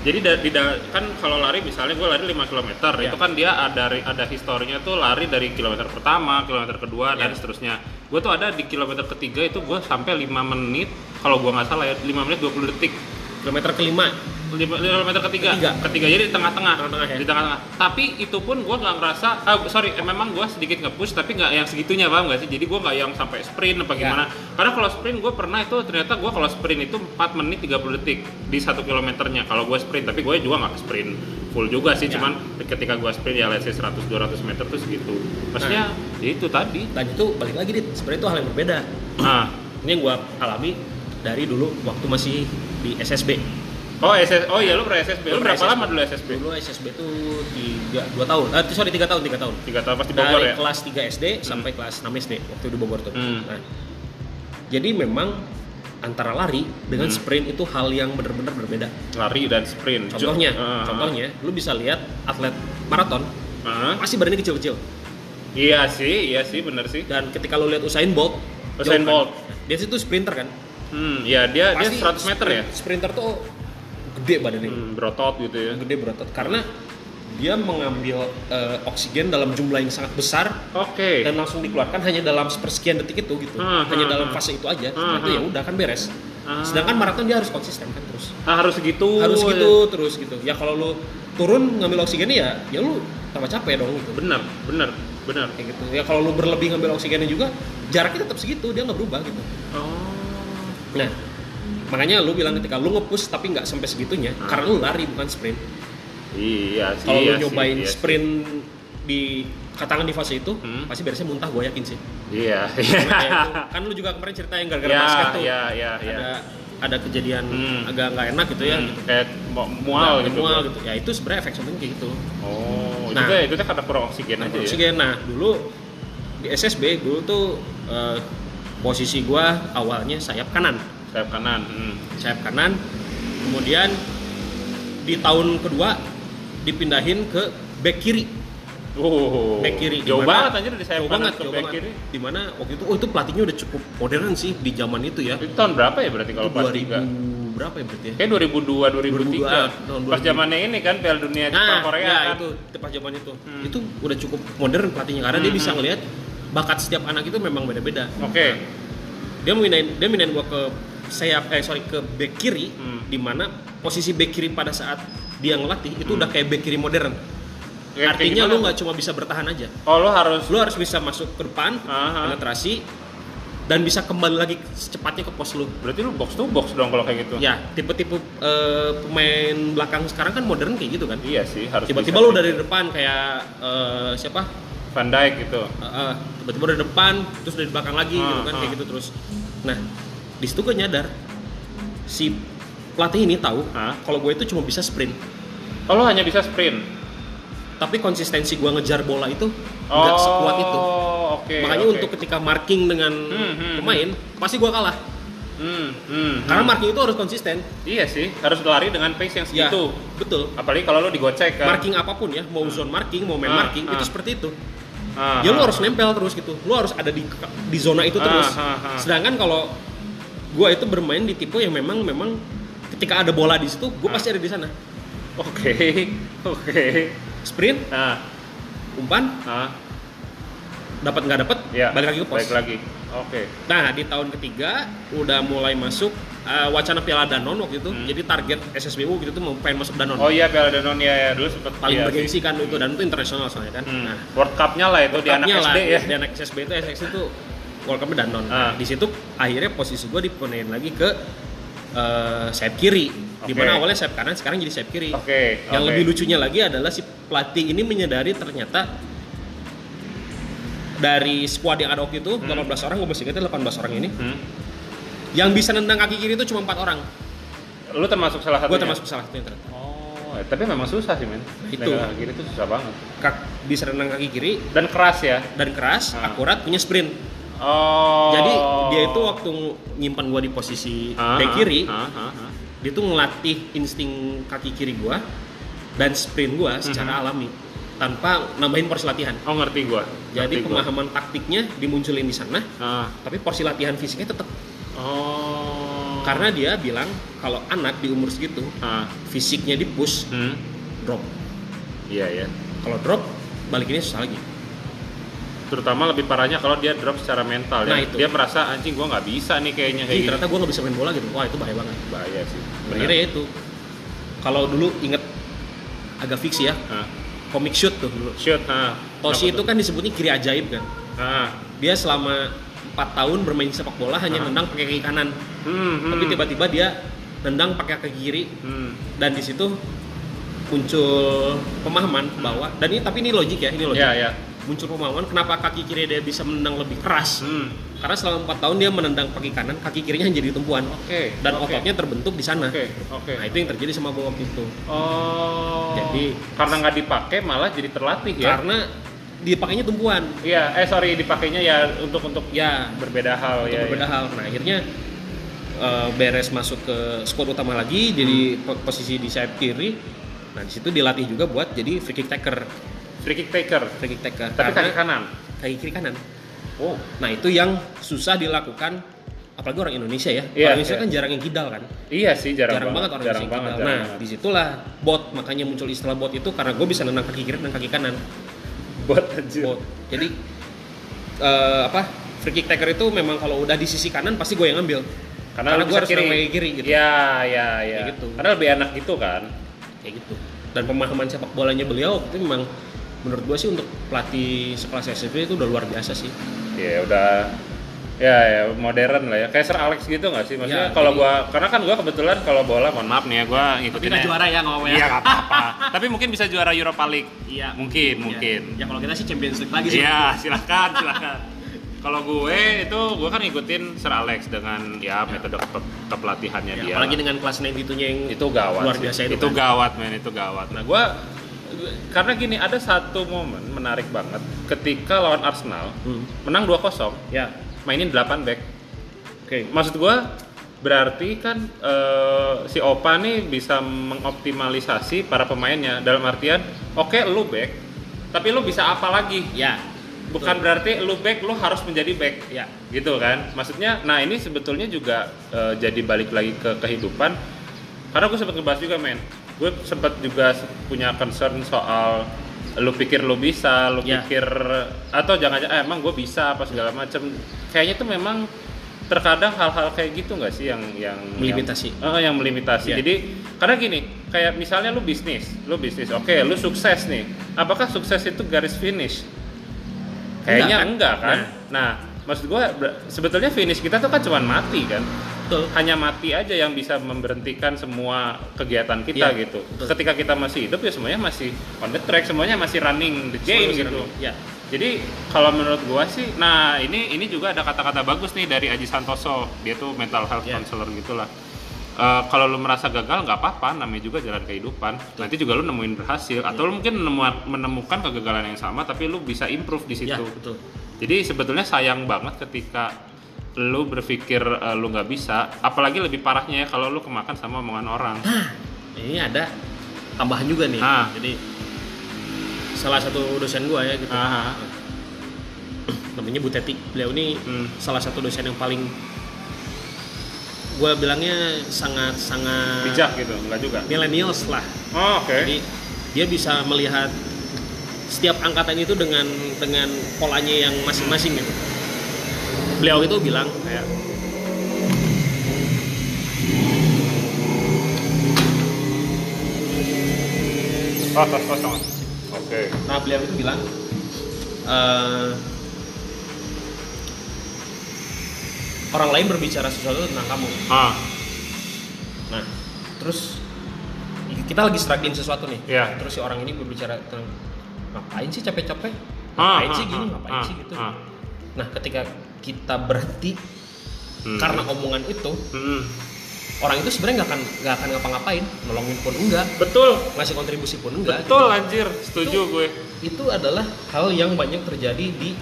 jadi da- di da- kan kalau lari misalnya gue lari 5 km Iya. itu kan dia ada ada historinya tuh lari dari kilometer pertama kilometer kedua dan Iya. seterusnya gue tuh ada di kilometer ketiga itu gue sampai 5 menit kalau gue nggak salah ya 5 menit 20 detik kilometer kelima Lima- kilometer ketiga. Ketiga. ketiga jadi di tengah-tengah Tengah-tengah ya. di tengah-tengah tapi itu pun gue nggak ngerasa ah sorry eh, memang gue sedikit nge-push tapi nggak yang segitunya paham nggak sih jadi gue nggak yang sampai sprint apa Ya. gimana karena kalau sprint gue pernah itu ternyata gue kalau sprint itu 4 menit 30 detik di satu kilometernya kalau gue sprint tapi gue juga nggak sprint full juga sih Ya. cuman ketika gue sprint ya let's say 100 200 meter tuh segitu maksudnya ya itu tadi dan itu balik lagi dit sebenarnya itu hal yang berbeda nah ini yang gua alami dari dulu waktu masih di SSB oh SS oh iya lu pernah SSB lu Gua berapa pernah lama dulu SSB dulu SSB itu tiga dua tahun eh sorry tiga tahun tiga tahun tiga tahun pasti Bogor dari ya kelas 3 SD sampai kelas 6 SD waktu di Bogor tuh Hmm. nah, jadi memang antara lari dengan Hmm. sprint itu hal yang benar-benar berbeda lari dan sprint contohnya Ah. contohnya lu bisa lihat atlet maraton Ah. masih badannya kecil-kecil Iya sih, iya sih, bener sih. dan ketika lu lihat Usain Bolt Usain jauh kan? Bolt. dia itu sprinter kan Hmm, ya dia Pasti dia 100 meter ya. sprinter tuh gede badannya Hmm, berotot gitu ya. gede berotot karena dia mengambil eh, oksigen dalam jumlah yang sangat besar Oke. dan langsung dikeluarkan hanya dalam sepersekian detik itu gitu Hmm, hanya hmm, dalam hmm. fase itu aja Hmm, setelah itu ya udah kan beres Ah. sedangkan maraton dia harus konsisten kan terus Ah, harus gitu. harus gitu terus gitu ya kalau lu turun ngambil oksigennya ya ya lu tambah capek dong gitu Bener, bener, bener. kayak gitu ya kalau lu berlebih ngambil oksigennya juga jaraknya tetap segitu dia nggak berubah gitu Oh. nah makanya lu bilang ketika lu nge-push tapi nggak sampai segitunya Hmm. karena lu lari bukan sprint Iya sih. kalau iya lu nyobain sih, iya sprint di katakan di fase itu Hmm. pasti beresnya muntah gue yakin sih sih. Iya. Karena ya itu- kan lu juga kemarin cerita yang gara-gara Iya, basket tuh iya, iya, iya. ada ada kejadian Hmm. agak nggak enak gitu ya Hmm, gitu. kayak mu- mual Nah, gitu. mual gitu ya itu sebenarnya efek samping kayak gitu Oh, Nah. itu teh itu teh karena kurang oksigen nah, aja ya. oksigen nah dulu di SSB dulu tuh eh, posisi gua awalnya sayap kanan Sayap kanan. Hmm. sayap kanan kemudian di tahun kedua dipindahin ke back kiri Oh. back kiri Jauh Dimana- banget anjir dari sayap jauh kanan banget, ke jauh back banget. kiri. dimana waktu itu oh itu pelatihnya udah cukup modern sih di zaman itu ya Itu tahun berapa ya berarti kalau Itu pas 2000 berapa ya berarti ya Kayak 2002 2003. 2002, tahun Pas 2002. zamannya ini kan Piala Dunia Jepang Korea ya, kan. itu tepat zaman itu Hmm. itu udah cukup modern pelatihnya karena dia Hmm, bisa hmm. ngelihat bakat setiap anak itu memang beda-beda Oke. dia mindahin dia mindahin gua ke sayap eh sorry ke back kiri Hmm. di mana posisi back kiri pada saat dia ngelatih itu udah kayak back kiri modern Hmm. Kayak artinya gimana? lu nggak cuma bisa bertahan aja Oh, lu harus Ah, lu harus bisa masuk ke depan Aha. penetrasi dan bisa kembali lagi secepatnya ke pos lu berarti lu box to box dong kalau kayak gitu. ya tipe-tipe eh, pemain belakang sekarang kan modern kayak gitu kan Iya sih, harus tiba-tiba bisa. lu dari depan kayak eh, siapa Van Dijk gitu. Eh, eh, tiba-tiba dari depan terus dari belakang lagi Ah, gitu kan ah. kayak gitu terus nah di situ gue nyadar si pelatih ini tahu Ah. kalau gue itu cuma bisa sprint Oh, lu hanya bisa sprint. tapi konsistensi gua ngejar bola itu nggak sekuat itu Oh, oke, makanya oke. untuk ketika marking dengan Hmm, hmm, pemain pasti gua kalah Hmm, hmm, karena hmm. marking itu harus konsisten iya sih harus lari dengan pace yang Ya, segitu. betul Apalagi kalau lu digocek Gitu. kan. marking apapun ya mau zone marking mau main Ah, marking ah. itu seperti itu Ah, ya lu ah. harus nempel terus gitu lu harus ada di di zona Ah, itu terus ah, ah. sedangkan kalau gua itu bermain di tipe yang memang memang ketika ada bola di situ Ah. gua pasti ada di sana Oke, oke. sprint Nah, umpan ah, dapat nggak dapat ya. balik lagi ke pos Balik lagi. Oke. nah di tahun ketiga udah mulai masuk eh, wacana piala danon waktu itu Hmm. jadi target SSBU gitu tuh mau pengen masuk danon Oh iya Piala Danon ya, ya. dulu sempat paling iya bergensi sih. kan itu dan itu internasional soalnya kan Hmm. nah World Cup-nya lah itu di anak Cupnya iya. SD ya. di anak SSB itu SX itu World Cup dan non Ah. di situ akhirnya posisi gue dipenuhin lagi ke eh, sayap kiri di mana Oke. awalnya sayap kanan sekarang jadi sayap kiri Oke. yang oke. lebih lucunya lagi adalah si pelatih ini menyadari ternyata dari squad yang ada waktu itu 18 orang gue masih ingatnya 18 orang ini Hmm. yang bisa nendang kaki kiri itu cuma empat orang Lu termasuk salah satu. gue termasuk salah satunya ternyata Oh, eh, tapi memang susah sih men. Itu. Negara kiri itu susah banget. Kak- bisa nendang kaki kiri Dan keras ya. dan keras Ah. akurat punya sprint Oh. jadi dia itu waktu nyimpan gue di posisi Ah, back ah, kiri ah, ah, ah. dia tuh ngelatih insting kaki kiri gua dan sprint gua Mhm. secara alami tanpa nambahin porsi latihan. Oh ngerti gua. Jadi Ngerti gua. pemahaman taktiknya dimunculin di sana, Ah. tapi porsi latihan fisiknya tetap Oh. karena dia bilang kalau anak di umur segitu Ah. fisiknya di push Hmm. drop. Iya ya. Kalau drop balikinnya susah lagi. Terutama lebih parahnya kalau dia drop secara mental Nah, ya. itu. Dia merasa anjing gua nggak bisa nih kayaknya kayak Ih, gini. ternyata gua nggak bisa main bola gitu. Wah itu bahaya banget. Bahaya sih. Ya, iya. Benar. Akhirnya ya itu. Kalau dulu inget agak fiksi ya, Ah. komik shoot tuh dulu. Shoot. Ah. Toshi Kenapa itu tuh? kan disebutnya kiri ajaib kan. Ah. dia selama 4 tahun bermain sepak bola Ah. hanya nendang pakai kaki kanan Hmm, hmm. tapi tiba-tiba dia nendang pakai kaki kiri Hmm. dan di situ muncul pemahaman bahwa dan ini tapi ini logik ya ini logik Hmm. Ya ya. muncul pemahaman kenapa kaki kiri dia bisa menendang lebih keras Hmm. karena selama 4 tahun dia menendang pakai kanan kaki kirinya hanya jadi tumpuan Oke. dan oke. ototnya terbentuk di sana Oke. Oke. nah itu yang terjadi sama gue waktu itu Oh. Jadi- karena nggak dipakai malah jadi terlatih ya. karena dipakainya tumpuan Iya, eh sorry dipakainya ya untuk untuk ya berbeda hal untuk ya. berbeda ya. hal. Nah akhirnya eh, beres masuk ke squad utama lagi, jadi Hmm. po- posisi di sayap kiri. Nah di situ dilatih juga buat jadi free kick taker, Free kick taker, free kick taker. tapi kaki Karena kanan. kaki kiri kanan. Oh. Nah itu yang susah dilakukan, apalagi orang Indonesia ya. Iya, orang Indonesia iya. kan jarang yang kidal kan, Iya sih jarang, jarang, banget orang jarang Indonesia banget. yang kidal. jarang nah banget. disitulah bot, makanya muncul istilah bot itu karena gue bisa nendang kaki kiri dan kaki kanan. buat anjir. Bot. Jadi eh, apa? Free kick taker itu memang kalau udah di sisi kanan pasti gue yang ngambil. Karena, karena lu gua bisa harus nendang kaki kiri gitu. Iya, iya, iya. Kayak gitu. Karena lebih enak gitu kan. kayak gitu dan pemahaman sepak bolanya beliau itu memang menurut gue sih untuk pelatih sekelas SSB itu udah luar biasa sih Ya udah Ya, ya modern lah ya. Kayak Sir Alex gitu nggak sih? Maksudnya Ya, kalau jadi- gua karena kan gua kebetulan kalau bola mohon maaf nih ya gua ngikutin ya nggak apa-apa Iya, nggak apa-apa. Tapi mungkin bisa juara Europa League. Iya. Mungkin, mungkin. ya, kalau kita sih Champions League lagi sih Iya, silakan, silakan. Kalau gue itu gue kan ngikutin Sir Alex dengan ya metode ke- kepelatihannya Ya, dia. apalagi dengan kelas 92 nya yang Iya. itu gawat. luar sih. biasa itu, Itu kan. gawat, men, itu gawat. Nah, gue karena gini ada satu momen menarik banget ketika lawan Arsenal Hmm. menang 2-0, ya mainin 8 back. oke Maksud gue berarti kan eh, si Opa nih bisa mengoptimalisasi para pemainnya dalam artian oke lu back tapi lu bisa apa lagi ya bukan berarti lu back lu harus menjadi back ya gitu kan maksudnya nah ini sebetulnya juga eh, jadi balik lagi ke kehidupan karena gue sempat ngebahas juga men gue sempat juga se- punya concern soal lu pikir lu bisa lu Ya. pikir atau jangan eh, emang gue bisa apa segala macam kayaknya tuh memang terkadang hal-hal kayak gitu nggak sih yang yang Melimitasi. yang, eh, yang melimitasi Ya. jadi karena gini kayak misalnya lu bisnis lu bisnis oke lu sukses nih apakah sukses itu garis finish Kayaknya enggak Enggak, kan? kan? Nah, maksud gua ber- sebetulnya finish kita tuh kan cuman mati kan. betul Hanya mati aja yang bisa memberhentikan semua kegiatan kita Iya, gitu. betul. Ketika kita masih hidup ya semuanya masih on the track, semuanya masih running the game gitu. ya Jadi kalau menurut gua sih, nah ini ini juga ada kata-kata bagus nih dari Aji Santoso, dia tuh mental health Iya. counselor gitulah. eh, kalau lu merasa gagal nggak apa-apa, namanya juga jalan kehidupan. Nanti juga lu nemuin berhasil atau lu mungkin menemu- menemukan kegagalan yang sama tapi lu bisa improve di ya situ. betul Jadi sebetulnya sayang banget ketika lu berpikir eh, lu nggak bisa, apalagi lebih parahnya ya kalau lu kemakan sama omongan orang. ini ada tambahan juga nih Ah. jadi salah satu dosen gua ya gitu Aha. namanya Bu Teti beliau ini Hmm. salah satu dosen yang paling gua bilangnya sangat sangat Bijak gitu, nggak juga. millennials lah Oh, oke. jadi dia bisa melihat setiap angkatan itu dengan dengan polanya yang masing-masing gitu beliau itu bilang ya. kayak Oh, tos, tos, tos. Oke. Nah beliau itu bilang eh, orang lain berbicara sesuatu tentang kamu. Ah, Nah terus kita lagi struggling sesuatu nih. Iya. Terus si orang ini berbicara tentang ngapain sih capek-capek? Ah, Ngapain ah, sih gini? ah, ngapain ah, sih gitu? ah. Nah ketika kita berhenti Hmm. karena omongan itu Hmm. orang itu sebenarnya nggak akan nggak akan ngapa-ngapain, nolongin pun enggak, Betul, ngasih kontribusi pun enggak. betul anjir, setuju Itu- gue. itu adalah hal yang banyak terjadi di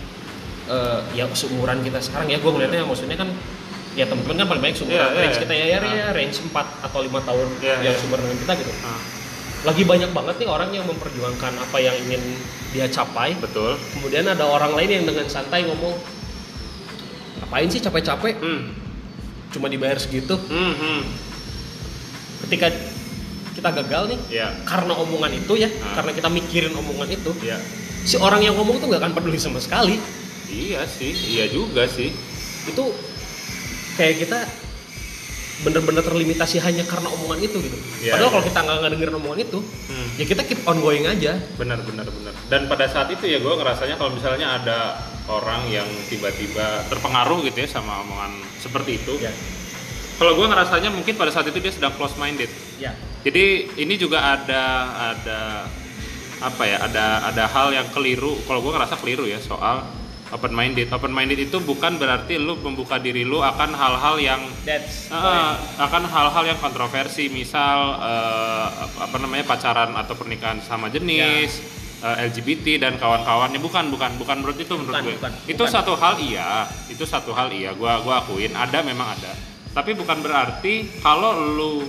eh, ya seumuran kita sekarang ya gue ngeliatnya maksudnya kan ya teman-teman kan paling banyak seumuran Iya, iya, range iya. kita ya, ya, Ah. ya range 4 atau lima tahun Iya, yang iya. seumuran dengan kita gitu Ah, lagi banyak banget nih orang yang memperjuangkan apa yang ingin dia capai betul. kemudian ada orang lain yang dengan santai ngomong ngapain sih capek-capek Hmm. cuma dibayar segitu Hmm, hmm. ketika kita gagal nih Iya. karena omongan itu ya Ah. karena kita mikirin omongan itu Iya. si orang yang ngomong tuh nggak akan peduli sama sekali Iya sih, iya juga sih. itu kayak kita bener-bener terlimitasi hanya karena omongan itu gitu. Iya, Padahal iya. kalau kita nggak ngedengerin omongan itu, Hmm. ya kita keep on going aja. benar benar benar dan pada saat itu ya gue ngerasanya kalau misalnya ada orang yang tiba-tiba terpengaruh gitu ya sama omongan seperti itu Ya, kalau gue ngerasanya mungkin pada saat itu dia sedang close minded ya, jadi ini juga ada ada apa ya ada ada hal yang keliru kalau gue ngerasa keliru ya soal open minded open minded itu bukan berarti lu membuka diri lu akan hal-hal yang that's Ah, akan hal-hal yang kontroversi misal eh, apa namanya pacaran atau pernikahan sama jenis eh, LGBT dan kawan-kawannya bukan bukan bukan menurut itu menurut Ya. Bukan, gue bukan, itu bukan. satu hal iya itu satu hal iya gua gua akuin ada memang ada tapi bukan berarti kalau lu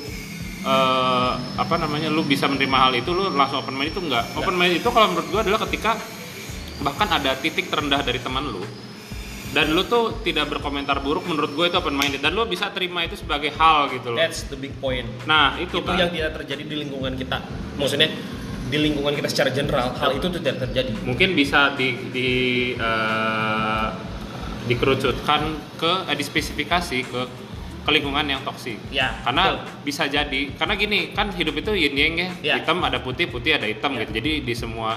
eh, apa namanya lu bisa menerima hal itu lu langsung open mind itu enggak open mind itu kalau menurut gua adalah ketika bahkan ada titik terendah dari teman lu dan lu tuh tidak berkomentar buruk menurut gue itu open minded dan lu bisa terima itu sebagai hal gitu loh that's the big point. nah itu, Itu kan yang tidak terjadi di lingkungan kita. Maksudnya di lingkungan kita secara general hal itu tuh tidak terjadi. mungkin bisa di di eh, dikerucutkan ke eh, dispesifikasi ke ke lingkungan yang toksik Ya, karena bisa jadi karena gini kan hidup itu yin yang ya Ya. hitam ada putih putih ada hitam Ya. gitu jadi di semua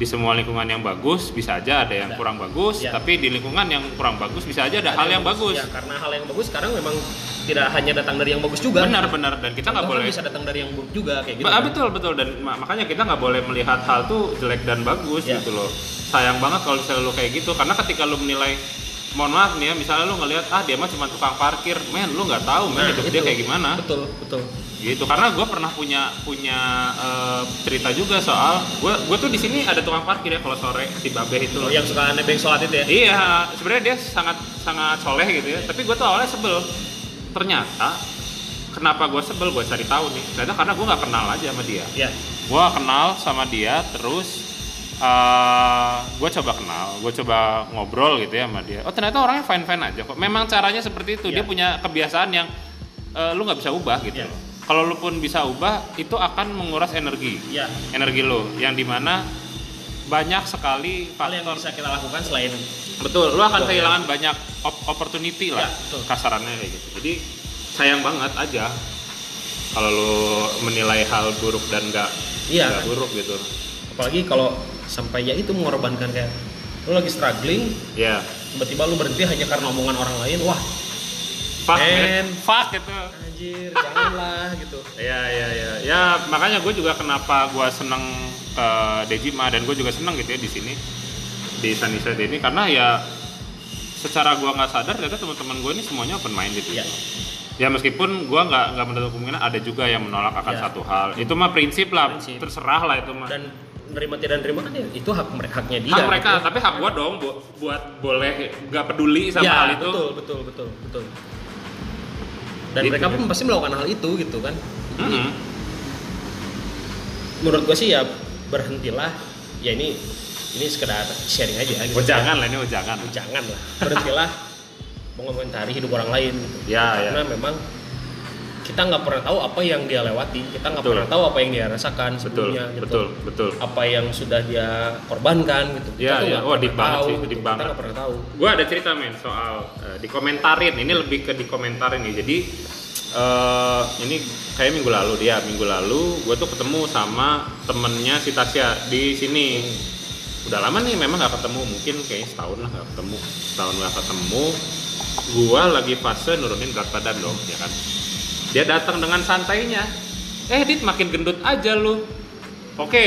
di semua lingkungan yang bagus bisa aja ada yang Ada. kurang bagus Ya. tapi di lingkungan yang kurang bagus bisa aja ada hal yang bagus Ya, karena hal yang bagus sekarang memang tidak hanya datang dari yang bagus juga. benar benar dan kita nggak Bahkan boleh bisa datang dari yang buruk juga kayak gitu. Ba- ah, kan. betul betul dan ma- makanya kita nggak boleh melihat hal tuh jelek dan bagus Ya. gitu loh sayang banget kalau misalnya lo kayak gitu karena ketika lo menilai mohon maaf nih ya misalnya lo ngelihat ah dia mah cuma tukang parkir men lo nggak tahu men Nah, hidup itu. dia kayak gimana Betul, betul. gitu karena gue pernah punya punya eh, cerita juga soal gue gue tuh di sini ada tukang parkir ya kalau sore si babe itu loh. Yang suka nebeng sholat itu ya. Iya, sebenarnya dia sangat sangat soleh gitu ya. Tapi gue tuh awalnya sebel. Ternyata kenapa gue sebel gue cari tahu nih. Ternyata karena gue nggak kenal aja sama dia. Ya. Gue kenal sama dia, terus gue coba kenal, gue coba ngobrol gitu ya sama dia. Oh ternyata orangnya fine fine aja kok. Memang caranya seperti itu. Dia Iya. punya kebiasaan yang eh, lu nggak bisa ubah gitu. Iya. loh. Kalau lu pun bisa ubah, itu akan menguras energi, Ya. energi lo. Yang dimana banyak sekali hal yang faktor bisa kita lakukan selain Betul, lu akan Betul, kehilangan banyak op- opportunity lah Ya, betul. kasarannya kayak gitu. Jadi sayang banget aja kalau lu menilai hal buruk dan nggak Iya. nggak buruk gitu. apalagi kalau sampai ya itu mengorbankan kayak lu lagi struggling Ya. tiba-tiba lu berhenti hanya karena omongan orang lain wah Fuck, Man. man. Fuck itu. anjir janganlah gitu Ya, ya, ya. Ya, makanya gue juga kenapa gue seneng ke Dejima dan gue juga seneng gitu ya di sini di Sunnyside ini karena ya secara gue nggak sadar ternyata teman-teman gue ini semuanya open minded gitu. ya Ya meskipun gua nggak nggak menutup kemungkinan ada juga yang menolak akan Ya. satu hal. Itu mah prinsip lah, Prinsip. terserah lah itu mah. dan nerima tidak nerima kan ya itu hak mereka haknya dia hak mereka, gitu. tapi hak gua dong bu- buat boleh nggak peduli sama ya, hal itu. betul betul betul betul dan Gitu. mereka pun pasti melakukan hal itu gitu kan Jadi, Mm-mm. menurut gue sih ya berhentilah ya ini ini sekedar sharing aja gitu. Wejangan lah ini wejangan. jangan lah berhentilah mengomentari hidup orang lain gitu. Ya ya. karena memang kita nggak pernah tahu apa yang dia lewati kita nggak Betul. pernah tahu apa yang dia rasakan Betul sebelumnya gitu. betul betul. apa yang sudah dia korbankan gitu Ya, kita tuh ya. nggak Wah, pernah deep banget tahu sih, gitu. deep kita banget. nggak pernah tahu gue ada cerita men soal eh, dikomentarin ini lebih ke dikomentarin nih jadi eh, ini kayak minggu lalu dia minggu lalu gue tuh ketemu sama temennya si Tasya di sini udah lama nih memang nggak ketemu mungkin kayaknya setahun lah nggak ketemu setahun nggak ketemu gue lagi fase nurunin berat badan dong ya kan dia datang dengan santainya eh dit makin gendut aja lu oke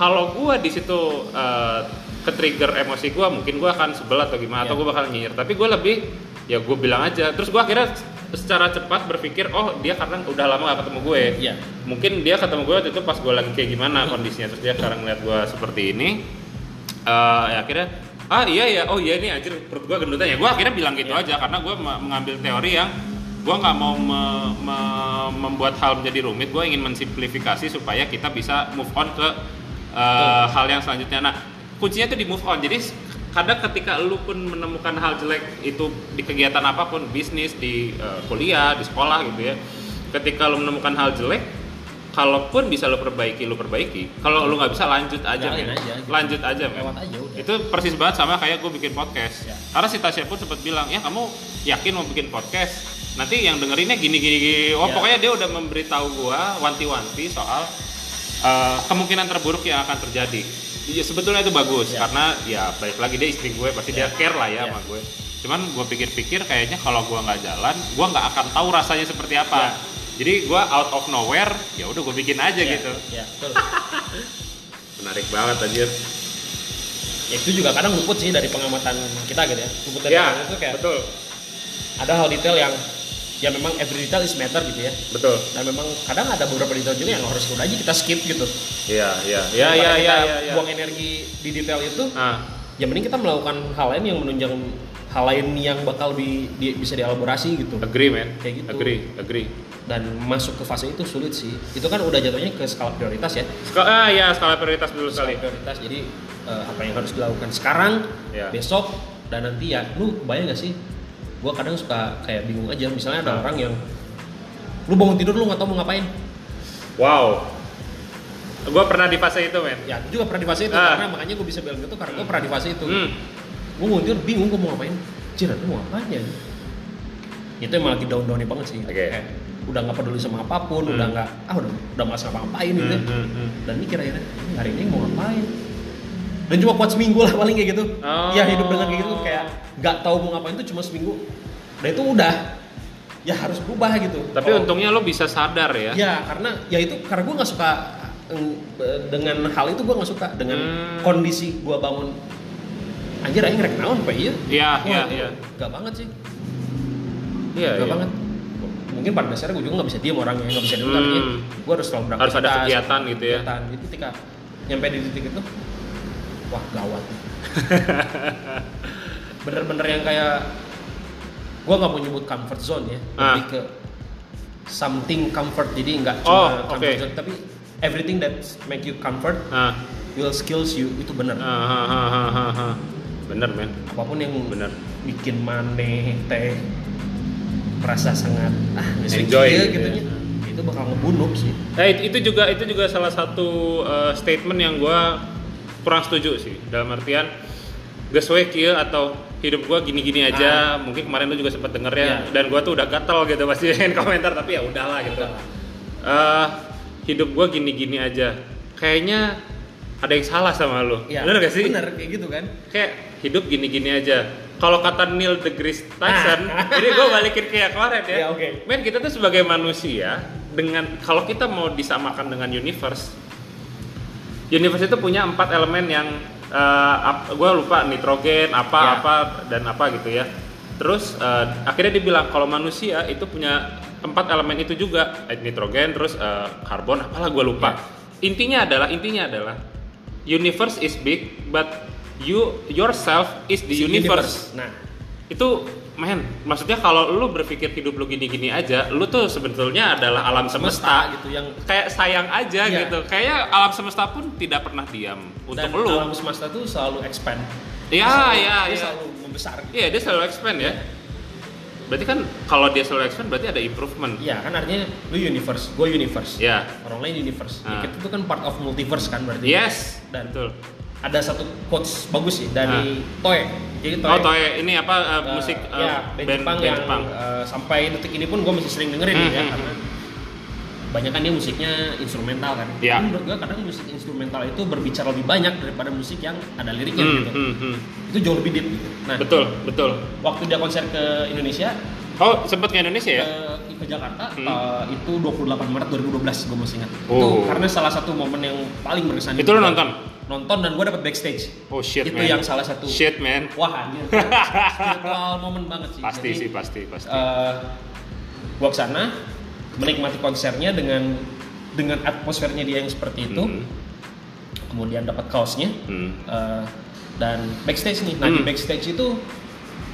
kalau gua di situ eh, ke-trigger emosi gua mungkin gua akan sebelah atau gimana atau Iya. gua bakal nyinyir tapi gua lebih ya gua bilang aja terus gua akhirnya secara cepat berpikir oh dia karena udah lama gak ketemu gue Iya. mungkin dia ketemu gue waktu itu pas gue lagi kayak gimana kondisinya terus dia sekarang ngeliat gue seperti ini eh ya akhirnya ah iya ya oh iya ini anjir perut gue gendutan ya gue akhirnya bilang gitu Iya. aja karena gue mengambil teori yang gue nggak mau me- me- membuat hal menjadi rumit gue ingin mensimplifikasi supaya kita bisa move on ke eh, hal yang selanjutnya nah kuncinya tuh di move on jadi kadang ketika lu pun menemukan hal jelek itu di kegiatan apapun bisnis di eh, kuliah di sekolah gitu ya ketika lu menemukan hal jelek kalaupun bisa lu perbaiki lu perbaiki kalau lu nggak bisa lanjut aja Jalanin men. aja, gitu. lanjut aja men lewat aja udah itu persis banget sama kayak gue bikin podcast Ya. karena si Tasya pun sempat bilang ya kamu yakin mau bikin podcast nanti yang dengerinnya gini gini, gini. Wah, Ya. pokoknya dia udah memberitahu gue wanti-wanti soal uh, kemungkinan terburuk yang akan terjadi ya, sebetulnya itu bagus Ya. karena ya balik lagi dia istri gue pasti Ya. dia care lah ya Ya. sama gue cuman gue pikir-pikir kayaknya kalau gue nggak jalan gue nggak akan tahu rasanya seperti apa Ya. jadi gue out of nowhere ya udah gue bikin aja Iya, gitu iya, betul. menarik banget anjir ya itu juga kadang luput sih dari pengamatan kita gitu ya luput dari ya pengamatan itu kayak betul ada hal detail yang ya memang every detail is matter gitu ya betul dan memang kadang ada beberapa detail juga yang harus udah aja kita skip gitu Iya, iya, iya, iya, iya, Daripada kita iya, iya. buang energi di detail itu Ah, ya mending kita melakukan hal lain yang menunjang hal lain yang bakal di, di- bisa dielaborasi gitu agree man, Kayak gitu. agree, agree. dan masuk ke fase itu sulit sih itu kan udah jatuhnya ke skala prioritas ya Ska- ah ya skala prioritas dulu skala sekali. prioritas jadi eh, apa yang harus dilakukan sekarang Ya. besok dan nanti ya lu bayang gak sih gua kadang suka kayak bingung aja misalnya ada Nah. orang yang lu bangun tidur lu nggak tahu mau ngapain Wow, gue pernah di fase itu men. ya itu juga pernah di fase itu Ah. karena makanya gue bisa bilang gitu karena gue pernah di fase itu Hmm, gue bangun tidur bingung gue mau ngapain Anjir, gue mau ngapain ya itu emang lagi down downnya banget sih Oke. Kayak udah nggak peduli sama apapun Hmm. udah nggak ah udah udah nggak ngapa ngapain gitu hmm, ya. hmm, hmm. dan mikir akhirnya "Ini hari ini mau ngapain dan cuma kuat seminggu lah paling kayak gitu Oh. ya hidup dengan kayak gitu kayak nggak tahu mau ngapain tuh cuma seminggu dan itu udah ya harus berubah gitu Tapi Kalau- untungnya lo bisa sadar ya. ya karena ya itu karena gue nggak suka eh, dengan hal itu gue nggak suka dengan Hmm. kondisi gue bangun anjir aing rek naon pak iya Iya, Wah, iya, iya. nggak banget sih Iya, nggak iya. banget mungkin pada dasarnya gue juga nggak bisa diem orangnya nggak bisa diem Hmm. tapi gue harus selalu Harus ada beraktivitas, kegiatan gitu ya. kegiatan. jadi ketika nyampe di titik itu wah gawat bener-bener yang kayak gue nggak mau nyebut comfort zone ya lebih Ah. ke something comfort jadi nggak cuma Oh, comfort oke. zone tapi everything that make you comfort Ah, will skills you itu bener ah, ah, ah, ah, ah, ah. Bener men, apapun yang bener. bikin maneh teh merasa sangat ah geus Enjoy kieu gitu gitu ya. nya. itu bakal ngebunuh sih Nah, it- itu juga itu juga salah satu eh, statement yang gue kurang setuju sih dalam artian gas we kieu atau hidup gue gini-gini aja mungkin kemarin lu juga sempat denger ya Iya. dan gue tuh udah gatel gitu pasti pengen komentar tapi ya udahlah gitu Eh, hidup gue gini-gini aja kayaknya ada yang salah sama lu ya, bener gak sih bener kayak gitu kan kayak hidup gini-gini aja kalau kata Neil deGrasse Tyson jadi gue balikin ke yang kemarin ya, Ya, oke. men kita tuh sebagai manusia dengan kalau kita mau disamakan dengan universe universe itu punya empat elemen yang gue lupa nitrogen apa Ya. apa dan apa gitu ya Terus eh, akhirnya dia bilang kalau manusia itu punya empat elemen itu juga Eh, nitrogen, terus eh, karbon, apalah gue lupa. Intinya adalah intinya adalah universe is big, but you yourself is the Si universe Nah, itu men maksudnya kalau lu berpikir hidup lu gini-gini aja lu tuh sebetulnya adalah alam semesta gitu yang kayak sayang aja Iya. gitu kayak alam semesta pun tidak pernah diam untuk dan lu alam semesta tuh selalu expand. ya Selalu- ya dia ya selalu membesar. Gitu. iya dia selalu expand ya berarti kan kalau dia selalu expand berarti ada improvement Iya, kan artinya lu universe, gue universe. ya Orang lain universe. Ah. Ya. Ya, kita tuh kan part of multiverse kan berarti. yes Dan- betul Ada satu quotes bagus sih dari Toe. Jadi Toe. Ah. oh toy ini apa uh, eh, musik uh, ya, band, Jepang yang Jepang. eh, sampai detik ini pun gue masih sering dengerin Hmm, ya hmm, karena banyak kan dia musiknya instrumental kan. Iya. Tapi Menurut gue kadang musik instrumental itu berbicara lebih banyak daripada musik yang ada liriknya Hmm, gitu. hmm, hmm. Itu jauh lebih deep. Gitu. Nah, betul betul waktu dia konser ke Indonesia eh, oh sempet ke Indonesia ya ke, ke Jakarta Hmm. eh, itu 28 Maret 2012 gue masih ingat. Itu Oh. karena salah satu momen yang paling berkesan. Itu lu Gua nonton? Nonton dan gue dapet backstage. oh shit Eh, itu man yang salah satu. shit man Wah anjir. Spiritual momen banget sih. pasti Jadi, sih pasti pasti eh, gua kesana menikmati konsernya dengan dengan atmosfernya dia yang seperti itu Hmm. kemudian dapat kaosnya Hmm. eh, dan backstage nih nah di Hmm. backstage itu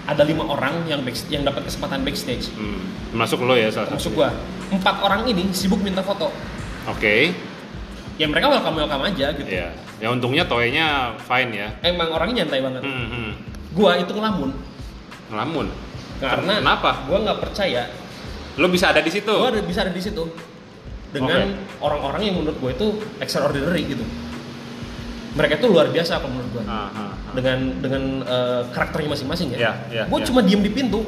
ada lima orang yang back- yang dapat kesempatan backstage Hmm. Masuk lo ya salah termasuk satunya. gua empat orang ini sibuk minta foto Oke. ya mereka welcome welcome aja gitu Ya. Ya untungnya toynya fine ya. emang orangnya nyantai banget Hmm, hmm. gua itu ngelamun Ngelamun. karena Kenapa? gua nggak percaya Lo bisa ada di situ. gue ada, bisa ada di situ dengan orang-orang yang menurut gue itu extraordinary gitu mereka itu luar biasa kalau menurut gue Ah, ah, ah. dengan dengan eh, karakternya masing-masing ya Iya, iya, gue iya. cuma diem di pintu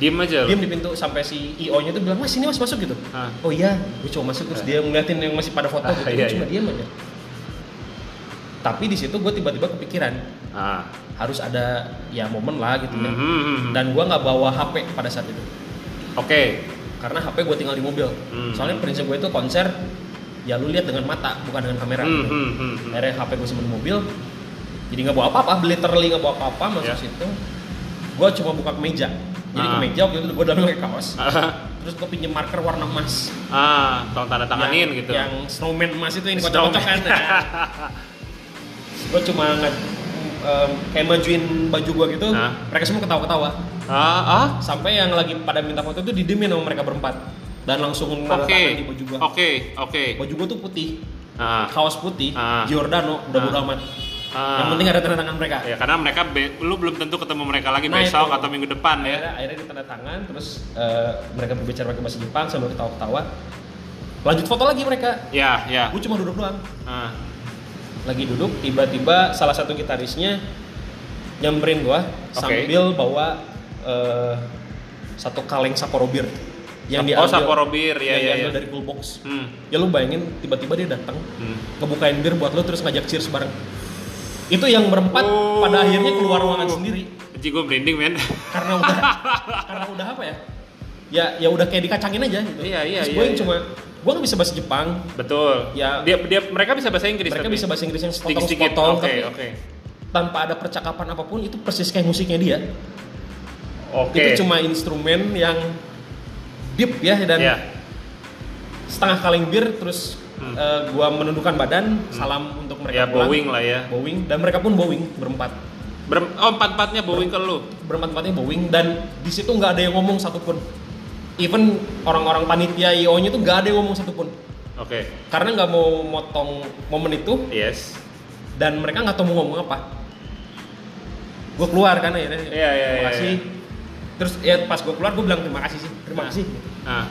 Diem aja lo. diem di pintu sampai si io nya itu bilang mas ini mas masuk gitu Ah. oh iya gue cuma masuk terus dia ngeliatin yang masih pada foto Ah, gitu iya, gue cuma iya. diem aja tapi di situ gue tiba-tiba kepikiran Ah. harus ada ya momen lah gitu Hmm, ya. hmm, hmm. dan gue nggak bawa hp pada saat itu Oke. karena HP gue tinggal di mobil Hmm. soalnya prinsip gue itu konser ya lu lihat dengan mata bukan dengan kamera Hmm, hmm, hmm, hmm. akhirnya HP gue simpen di mobil jadi nggak bawa apa-apa literally nggak bawa apa-apa masuk Ya. situ gue cuma buka kemeja jadi Ah. kemeja waktu itu gue udah pakai kaos Ah, terus gue pinjem marker warna emas Ah, tolong tanda tanganin yang, gitu. yang snowman emas itu yang Snowman. kocok-kocok kan gue cuma nge- em, kayak majuin baju gue gitu Ah. mereka semua ketawa-ketawa ah, ah. sampai yang lagi pada minta foto itu didemin sama mereka berempat dan langsung nanda tangan di Oke. baju gua Oke, oke. baju gua tuh putih Ah. kaos putih Ah. Giordano udah Ah. bodo amat Ah. yang penting ada tanda tangan mereka Ya, karena mereka be- lu belum tentu ketemu mereka lagi Nah, besok itu. atau minggu depan ya. akhirnya akhirnya ditanda tangan terus eh, mereka berbicara pakai bahasa Jepang sambil ketawa-ketawa lanjut foto lagi mereka Ya, ya. gua cuma duduk doang Ah. lagi duduk tiba-tiba salah satu gitarisnya nyamperin gua Oke. sambil bawa eh, satu kaleng Sapporo bir oh, yang diambil Sapporo bir, ya, yang ya, diambil ya. dari cool box Hmm. ya lu bayangin tiba-tiba dia datang Hmm. ngebukain bir buat lu terus ngajak cheers bareng itu yang berempat Oh. pada akhirnya keluar ruangan sendiri Anjing gue merinding men. karena udah karena udah apa ya ya ya udah kayak dikacangin aja gitu Iya, iya, Terus iya, gue yang iya. cuma gue nggak bisa bahasa Jepang Betul. Ya. Dia, dia mereka bisa bahasa Inggris. mereka tapi? bisa bahasa gitu. Inggris yang sepotong sedikit-sedikit. sepotong Oke, tapi oke. tanpa ada percakapan apapun itu persis kayak musiknya dia Oke. itu cuma instrumen yang deep ya dan Iya. setengah kaleng bir terus Hmm. eh, gua menundukkan badan salam untuk Ya mereka pulang. bowing lah ya. bowing dan mereka pun bowing berempat Berem- oh, empat-empatnya bowing ke lu. berempat-empatnya bowing dan di situ nggak ada yang ngomong satupun even orang-orang panitia io nya tuh nggak ada yang ngomong satupun Oke. karena nggak mau motong momen itu Yes. dan mereka nggak tahu mau ngomong apa gue keluar kan akhirnya Iya, iya, terima iya, kasih iya. terus ya pas gue keluar gue bilang terima kasih sih terima kasih Nah,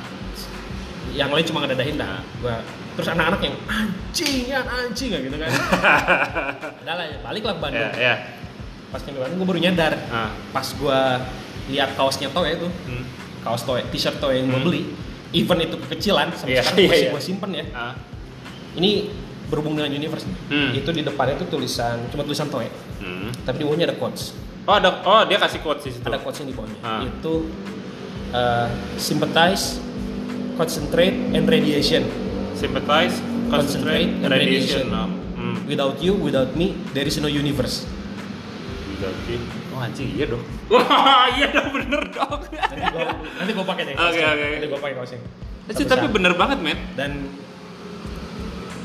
yang lain cuma ngedadahin dah gua terus anak-anak yang anjing ya anjing ya gitu kan udah lah ya, balik lah ke ya, Bandung ya. pas nyampe Bandung gue baru nyadar Nah. pas gua lihat kaosnya Toei itu Hmm. kaos Toei t-shirt Toei yang gue Hmm. beli even itu kekecilan sampai Iya, sekarang iya, masih iya. gue simpen ya Ah. ini berhubung dengan universe nih. Hmm. itu di depannya tuh tulisan cuma tulisan Toei Hmm. tapi di bawahnya ada quotes Oh, ada oh dia kasih quotes di situ. ada quotes yang di bawahnya Ah. itu uh, sympathize concentrate and radiation Sympathize, Concentrate, concentrate, and radiation. radiation. Oh, Hmm. without you without me there is no universe Berarti. Oh, wah anjing iya dong Wah, iya dong bener dong. nanti gua nanti gua pakai deh Oke, kaosnya. oke. nanti gua pakai kaosnya Tapi, tapi Satu bener banget men. saat. dan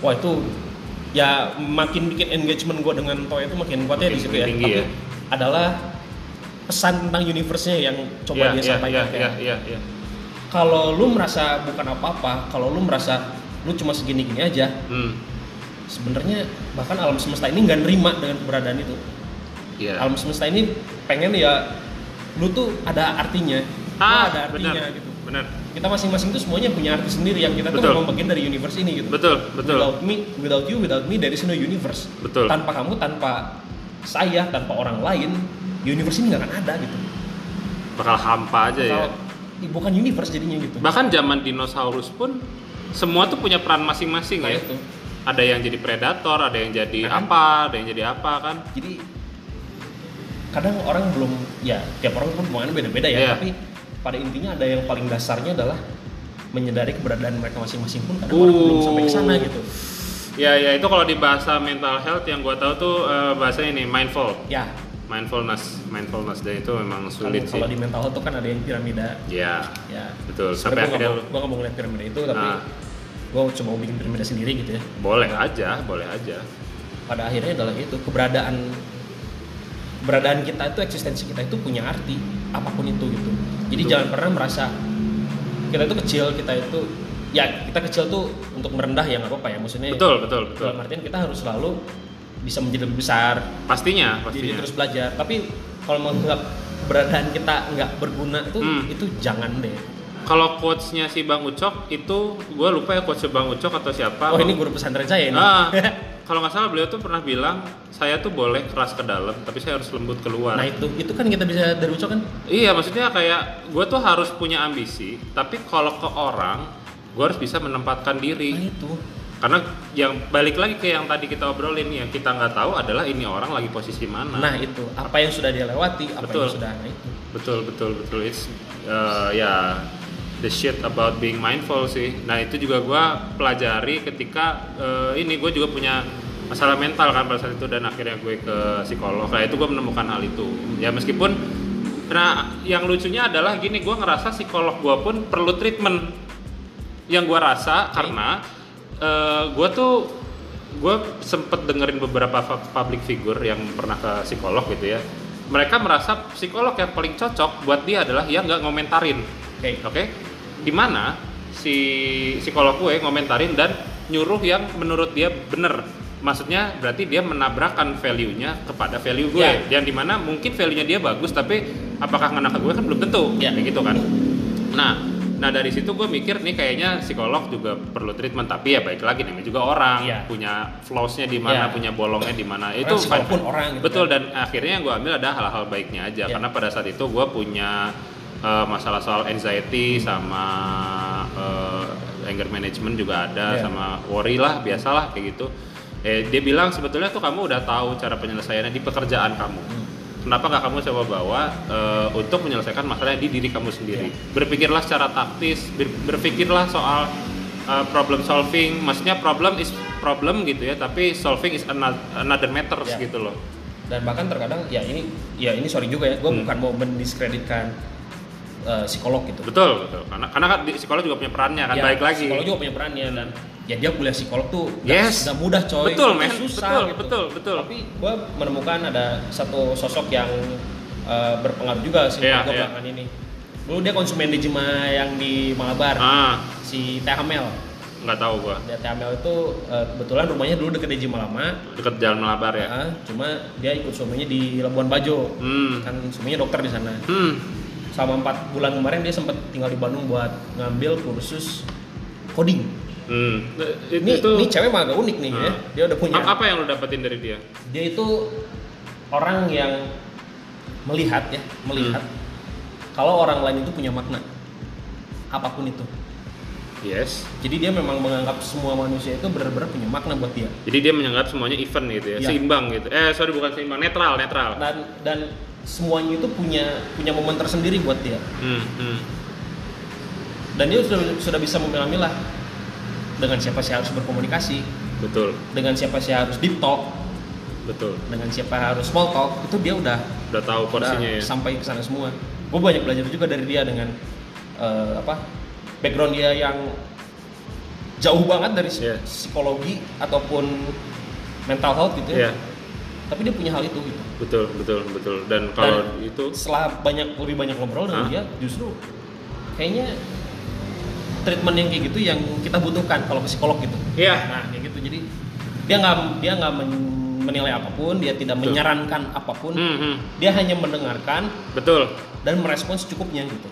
wah itu ya makin bikin engagement gua dengan toy itu makin kuatnya di Makin situ ya tinggi ya. adalah pesan tentang universe-nya yang coba dia sampaikan ya. Iya, kayak, iya, iya, iya. kalau lu merasa bukan apa-apa kalau lu merasa lu cuma segini-gini aja Hmm. sebenarnya bahkan alam semesta ini nggak nerima dengan keberadaan itu Iya. alam semesta ini pengen ya lu tuh ada artinya Lu Ah, ada artinya benar. gitu Benar. kita masing-masing tuh semuanya punya arti sendiri yang kita Betul. tuh memang bagian dari universe ini gitu Betul, betul. without me without you without me there is no universe Betul. tanpa kamu tanpa saya tanpa orang lain universe ini nggak akan ada gitu Bakal hampa aja ya. Kalau- ih, bukan universe jadinya gitu Bahkan zaman dinosaurus pun semua tuh punya peran masing-masing Nah, ya. itu. Ada yang jadi predator, ada yang jadi Kan? apa, ada yang jadi apa kan. jadi kadang orang belum ya tiap orang pun pengen beda-beda ya Iya. tapi pada intinya ada yang paling dasarnya adalah menyadari keberadaan mereka masing-masing pun kadang orang belum sampai ke sana Uh. gitu Ya, ya itu kalau di bahasa mental health yang gua tahu tuh eh, bahasanya ini mindful, ya mindfulness, mindfulness dan itu memang kalau sulit kalau di sih. mental health tuh kan ada yang piramida Ya, ya betul. Sampai sebenarnya akhirnya gue gak, mau ngeliat piramida itu tapi Nah. gue cuma mau bikin piramida sendiri gitu ya lu- boleh aja, boleh aja. pada akhirnya adalah itu keberadaan keberadaan kita itu eksistensi kita itu punya arti apapun itu gitu jadi Betul. jangan pernah merasa kita itu kecil kita itu ya kita kecil tuh untuk merendah ya nggak apa-apa ya maksudnya Betul, betul, betul. dalam artian kita harus selalu bisa menjadi lebih besar Pastinya, jadi pastinya. terus belajar tapi kalau menganggap keberadaan kita nggak berguna itu Hmm. itu jangan deh Kalau quotes-nya si Bang Ucok itu gua lupa ya quotes Bang Ucok atau siapa. oh ini guru pesantren saya ini Ah, kalau nggak salah beliau tuh pernah bilang saya tuh boleh keras ke dalam tapi saya harus lembut keluar. nah itu itu kan kita bisa dari ucok kan Iya maksudnya kayak gue tuh harus punya ambisi tapi kalau ke orang gue harus bisa menempatkan nah diri itu karena yang balik lagi ke yang tadi kita obrolin yang kita nggak tahu adalah ini orang lagi posisi mana. nah itu apa yang sudah dia lewati apa Betul. yang sudah nah itu Betul betul betul it's uh, ya the shit about being mindful sih. Nah itu juga gua pelajari ketika uh, ini gue juga punya masalah mental kan pada saat itu dan akhirnya gue ke psikolog. Nah itu gue menemukan hal itu. Ya meskipun nah yang lucunya adalah gini gua ngerasa psikolog gua pun perlu treatment yang gua rasa karena eh, gua tuh gua sempet dengerin beberapa fa- public figure yang pernah ke psikolog gitu ya mereka merasa psikolog yang paling cocok buat dia adalah yang nggak ngomentarin oke oke dimana si psikolog gue ngomentarin dan nyuruh yang menurut dia bener maksudnya berarti dia menabrakkan value-nya kepada value gue Ya. yang dimana mungkin value-nya dia bagus tapi apakah ngena ke gue kan belum tentu Ya. kayak gitu kan nah nah dari situ gue mikir nih kayaknya psikolog juga perlu treatment tapi ya baik lagi namanya juga orang Ya. punya flaws-nya di mana Ya. punya bolongnya di mana Orang itu psikolog pun orang gitu betul kan. dan akhirnya yang gue ambil ada hal-hal baiknya aja Ya. karena pada saat itu gue punya eh, masalah soal anxiety sama eh, anger management juga ada Ya. sama worry lah biasalah kayak gitu eh dia bilang sebetulnya tuh kamu udah tahu cara penyelesaiannya di pekerjaan kamu kenapa nggak kamu coba bawa eh, untuk menyelesaikan masalahnya di diri kamu sendiri berpikirlah secara taktis ber- berpikirlah soal eh, problem solving maksudnya problem is problem gitu ya tapi solving is ano- another matters Ya. gitu loh dan bahkan terkadang ya ini ya ini sorry juga ya gue Hmm. bukan mau mendiskreditkan eh, psikolog gitu Betul, betul. Karena karena kan di psikolog juga punya perannya kan ya, baik lagi. psikolog juga punya perannya dan ya dia kuliah psikolog tuh nggak- Yes. nggak mudah coy Betul, Itu men. susah Betul, gitu. betul, betul. tapi gue menemukan ada satu sosok yang eh, berpengaruh juga sih Iya, gue iya. belakangan ini dulu dia konsumen di Jema yang di Malabar Ah, si Teh Amel nggak tahu gua. dia Teh Amel itu eh, kebetulan rumahnya dulu deket di Jema lama Deket jalan Malabar ya. ah, cuma dia ikut suaminya di Labuan Bajo Hmm. kan suaminya dokter di sana Hmm. selama empat bulan kemarin dia sempat tinggal di Bandung buat ngambil kursus coding. Hmm. Ini Itu ini cewek mah agak unik nih ya. Hmm. Dia udah punya. A- apa yang lu dapetin dari dia? Dia itu orang yang melihat ya, melihat Hmm. kalau orang lain itu punya makna apapun itu. Yes. Jadi dia memang menganggap semua manusia itu benar-benar punya makna buat dia. Jadi dia menganggap semuanya event gitu ya, Iya. Nah. seimbang gitu. Eh, sorry bukan seimbang, netral, netral. Dan dan semuanya itu punya punya momen tersendiri buat dia. Hmm, hmm. Dan dia sudah sudah bisa memilah-milah dengan siapa sih harus berkomunikasi, Betul, dengan siapa sih harus deep talk, betul. dengan siapa harus small talk itu dia udah udah tahu porsinya Nah, ya. sampai ke sana semua gue banyak belajar juga dari dia dengan eh, apa background dia yang jauh banget dari psi- Iya. psikologi ataupun mental health gitu Iya, ya tapi dia punya hal itu gitu betul betul betul. Dan kalau Dan- itu setelah banyak lebih banyak ngobrol dengan Hah? dia justru kayaknya treatment yang kayak gitu yang kita butuhkan kalau ke psikolog gitu iya, nah kayak gitu jadi dia nggak dia nggak men- menilai apapun dia tidak Betul. menyarankan apapun Hmm, hmm, dia hanya mendengarkan betul. dan merespons cukupnya gitu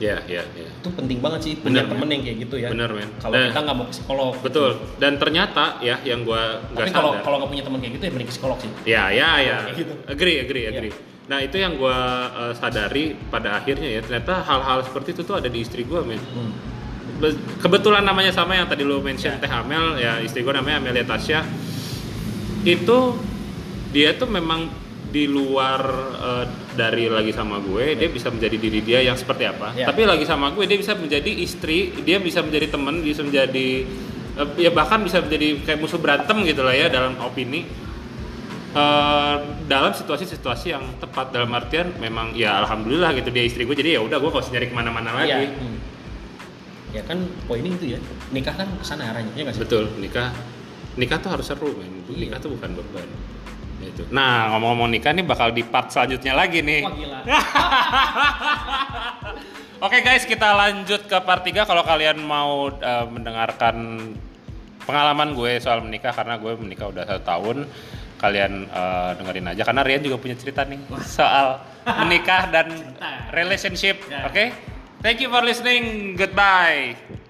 Iya, iya, iya. itu penting banget sih Bener, punya men. temen yang kayak gitu ya Bener, men. kalau Nah. kita nggak mau ke psikolog Betul. Dan ternyata ya yang gua nggak tapi sadar. kalau kalau nggak punya teman kayak gitu ya mending ke psikolog sih Ya, ya, ya. Kayak gitu. Agree, agree, agree. Nah, itu yang gua eh, sadari pada akhirnya ya, ternyata hal-hal seperti itu tuh ada di istri gua, men. Hmm. Be- Kebetulan namanya sama yang tadi lu mention Teh Amel, ya istri gua namanya Amelia Tasya. Itu dia tuh memang di luar eh, dari lagi sama gue, dia bisa menjadi diri dia yang seperti apa. Ya. Tapi lagi sama gue dia bisa menjadi istri, dia bisa menjadi teman, bisa menjadi eh, ya bahkan bisa menjadi kayak musuh berantem gitu lah ya dalam opini. Eh, dalam situasi-situasi yang tepat dalam artian memang ya alhamdulillah gitu dia istri gue jadi ya udah gue gak usah nyari kemana-mana Iya. lagi Hmm. ya kan poinnya itu ya nikah kan kesana arahnya ya nggak sih betul nikah nikah tuh harus seru men nikah tuh bukan beban Ya itu nah ngomong-ngomong nikah nih bakal di part selanjutnya lagi nih Wah, gila. Oke guys, kita lanjut ke part 3 kalau kalian mau eh, mendengarkan pengalaman gue soal menikah karena gue menikah udah satu tahun. Kalian eh, dengerin aja karena Rian juga punya cerita nih soal menikah dan relationship. Oke? Thank you for listening. Goodbye.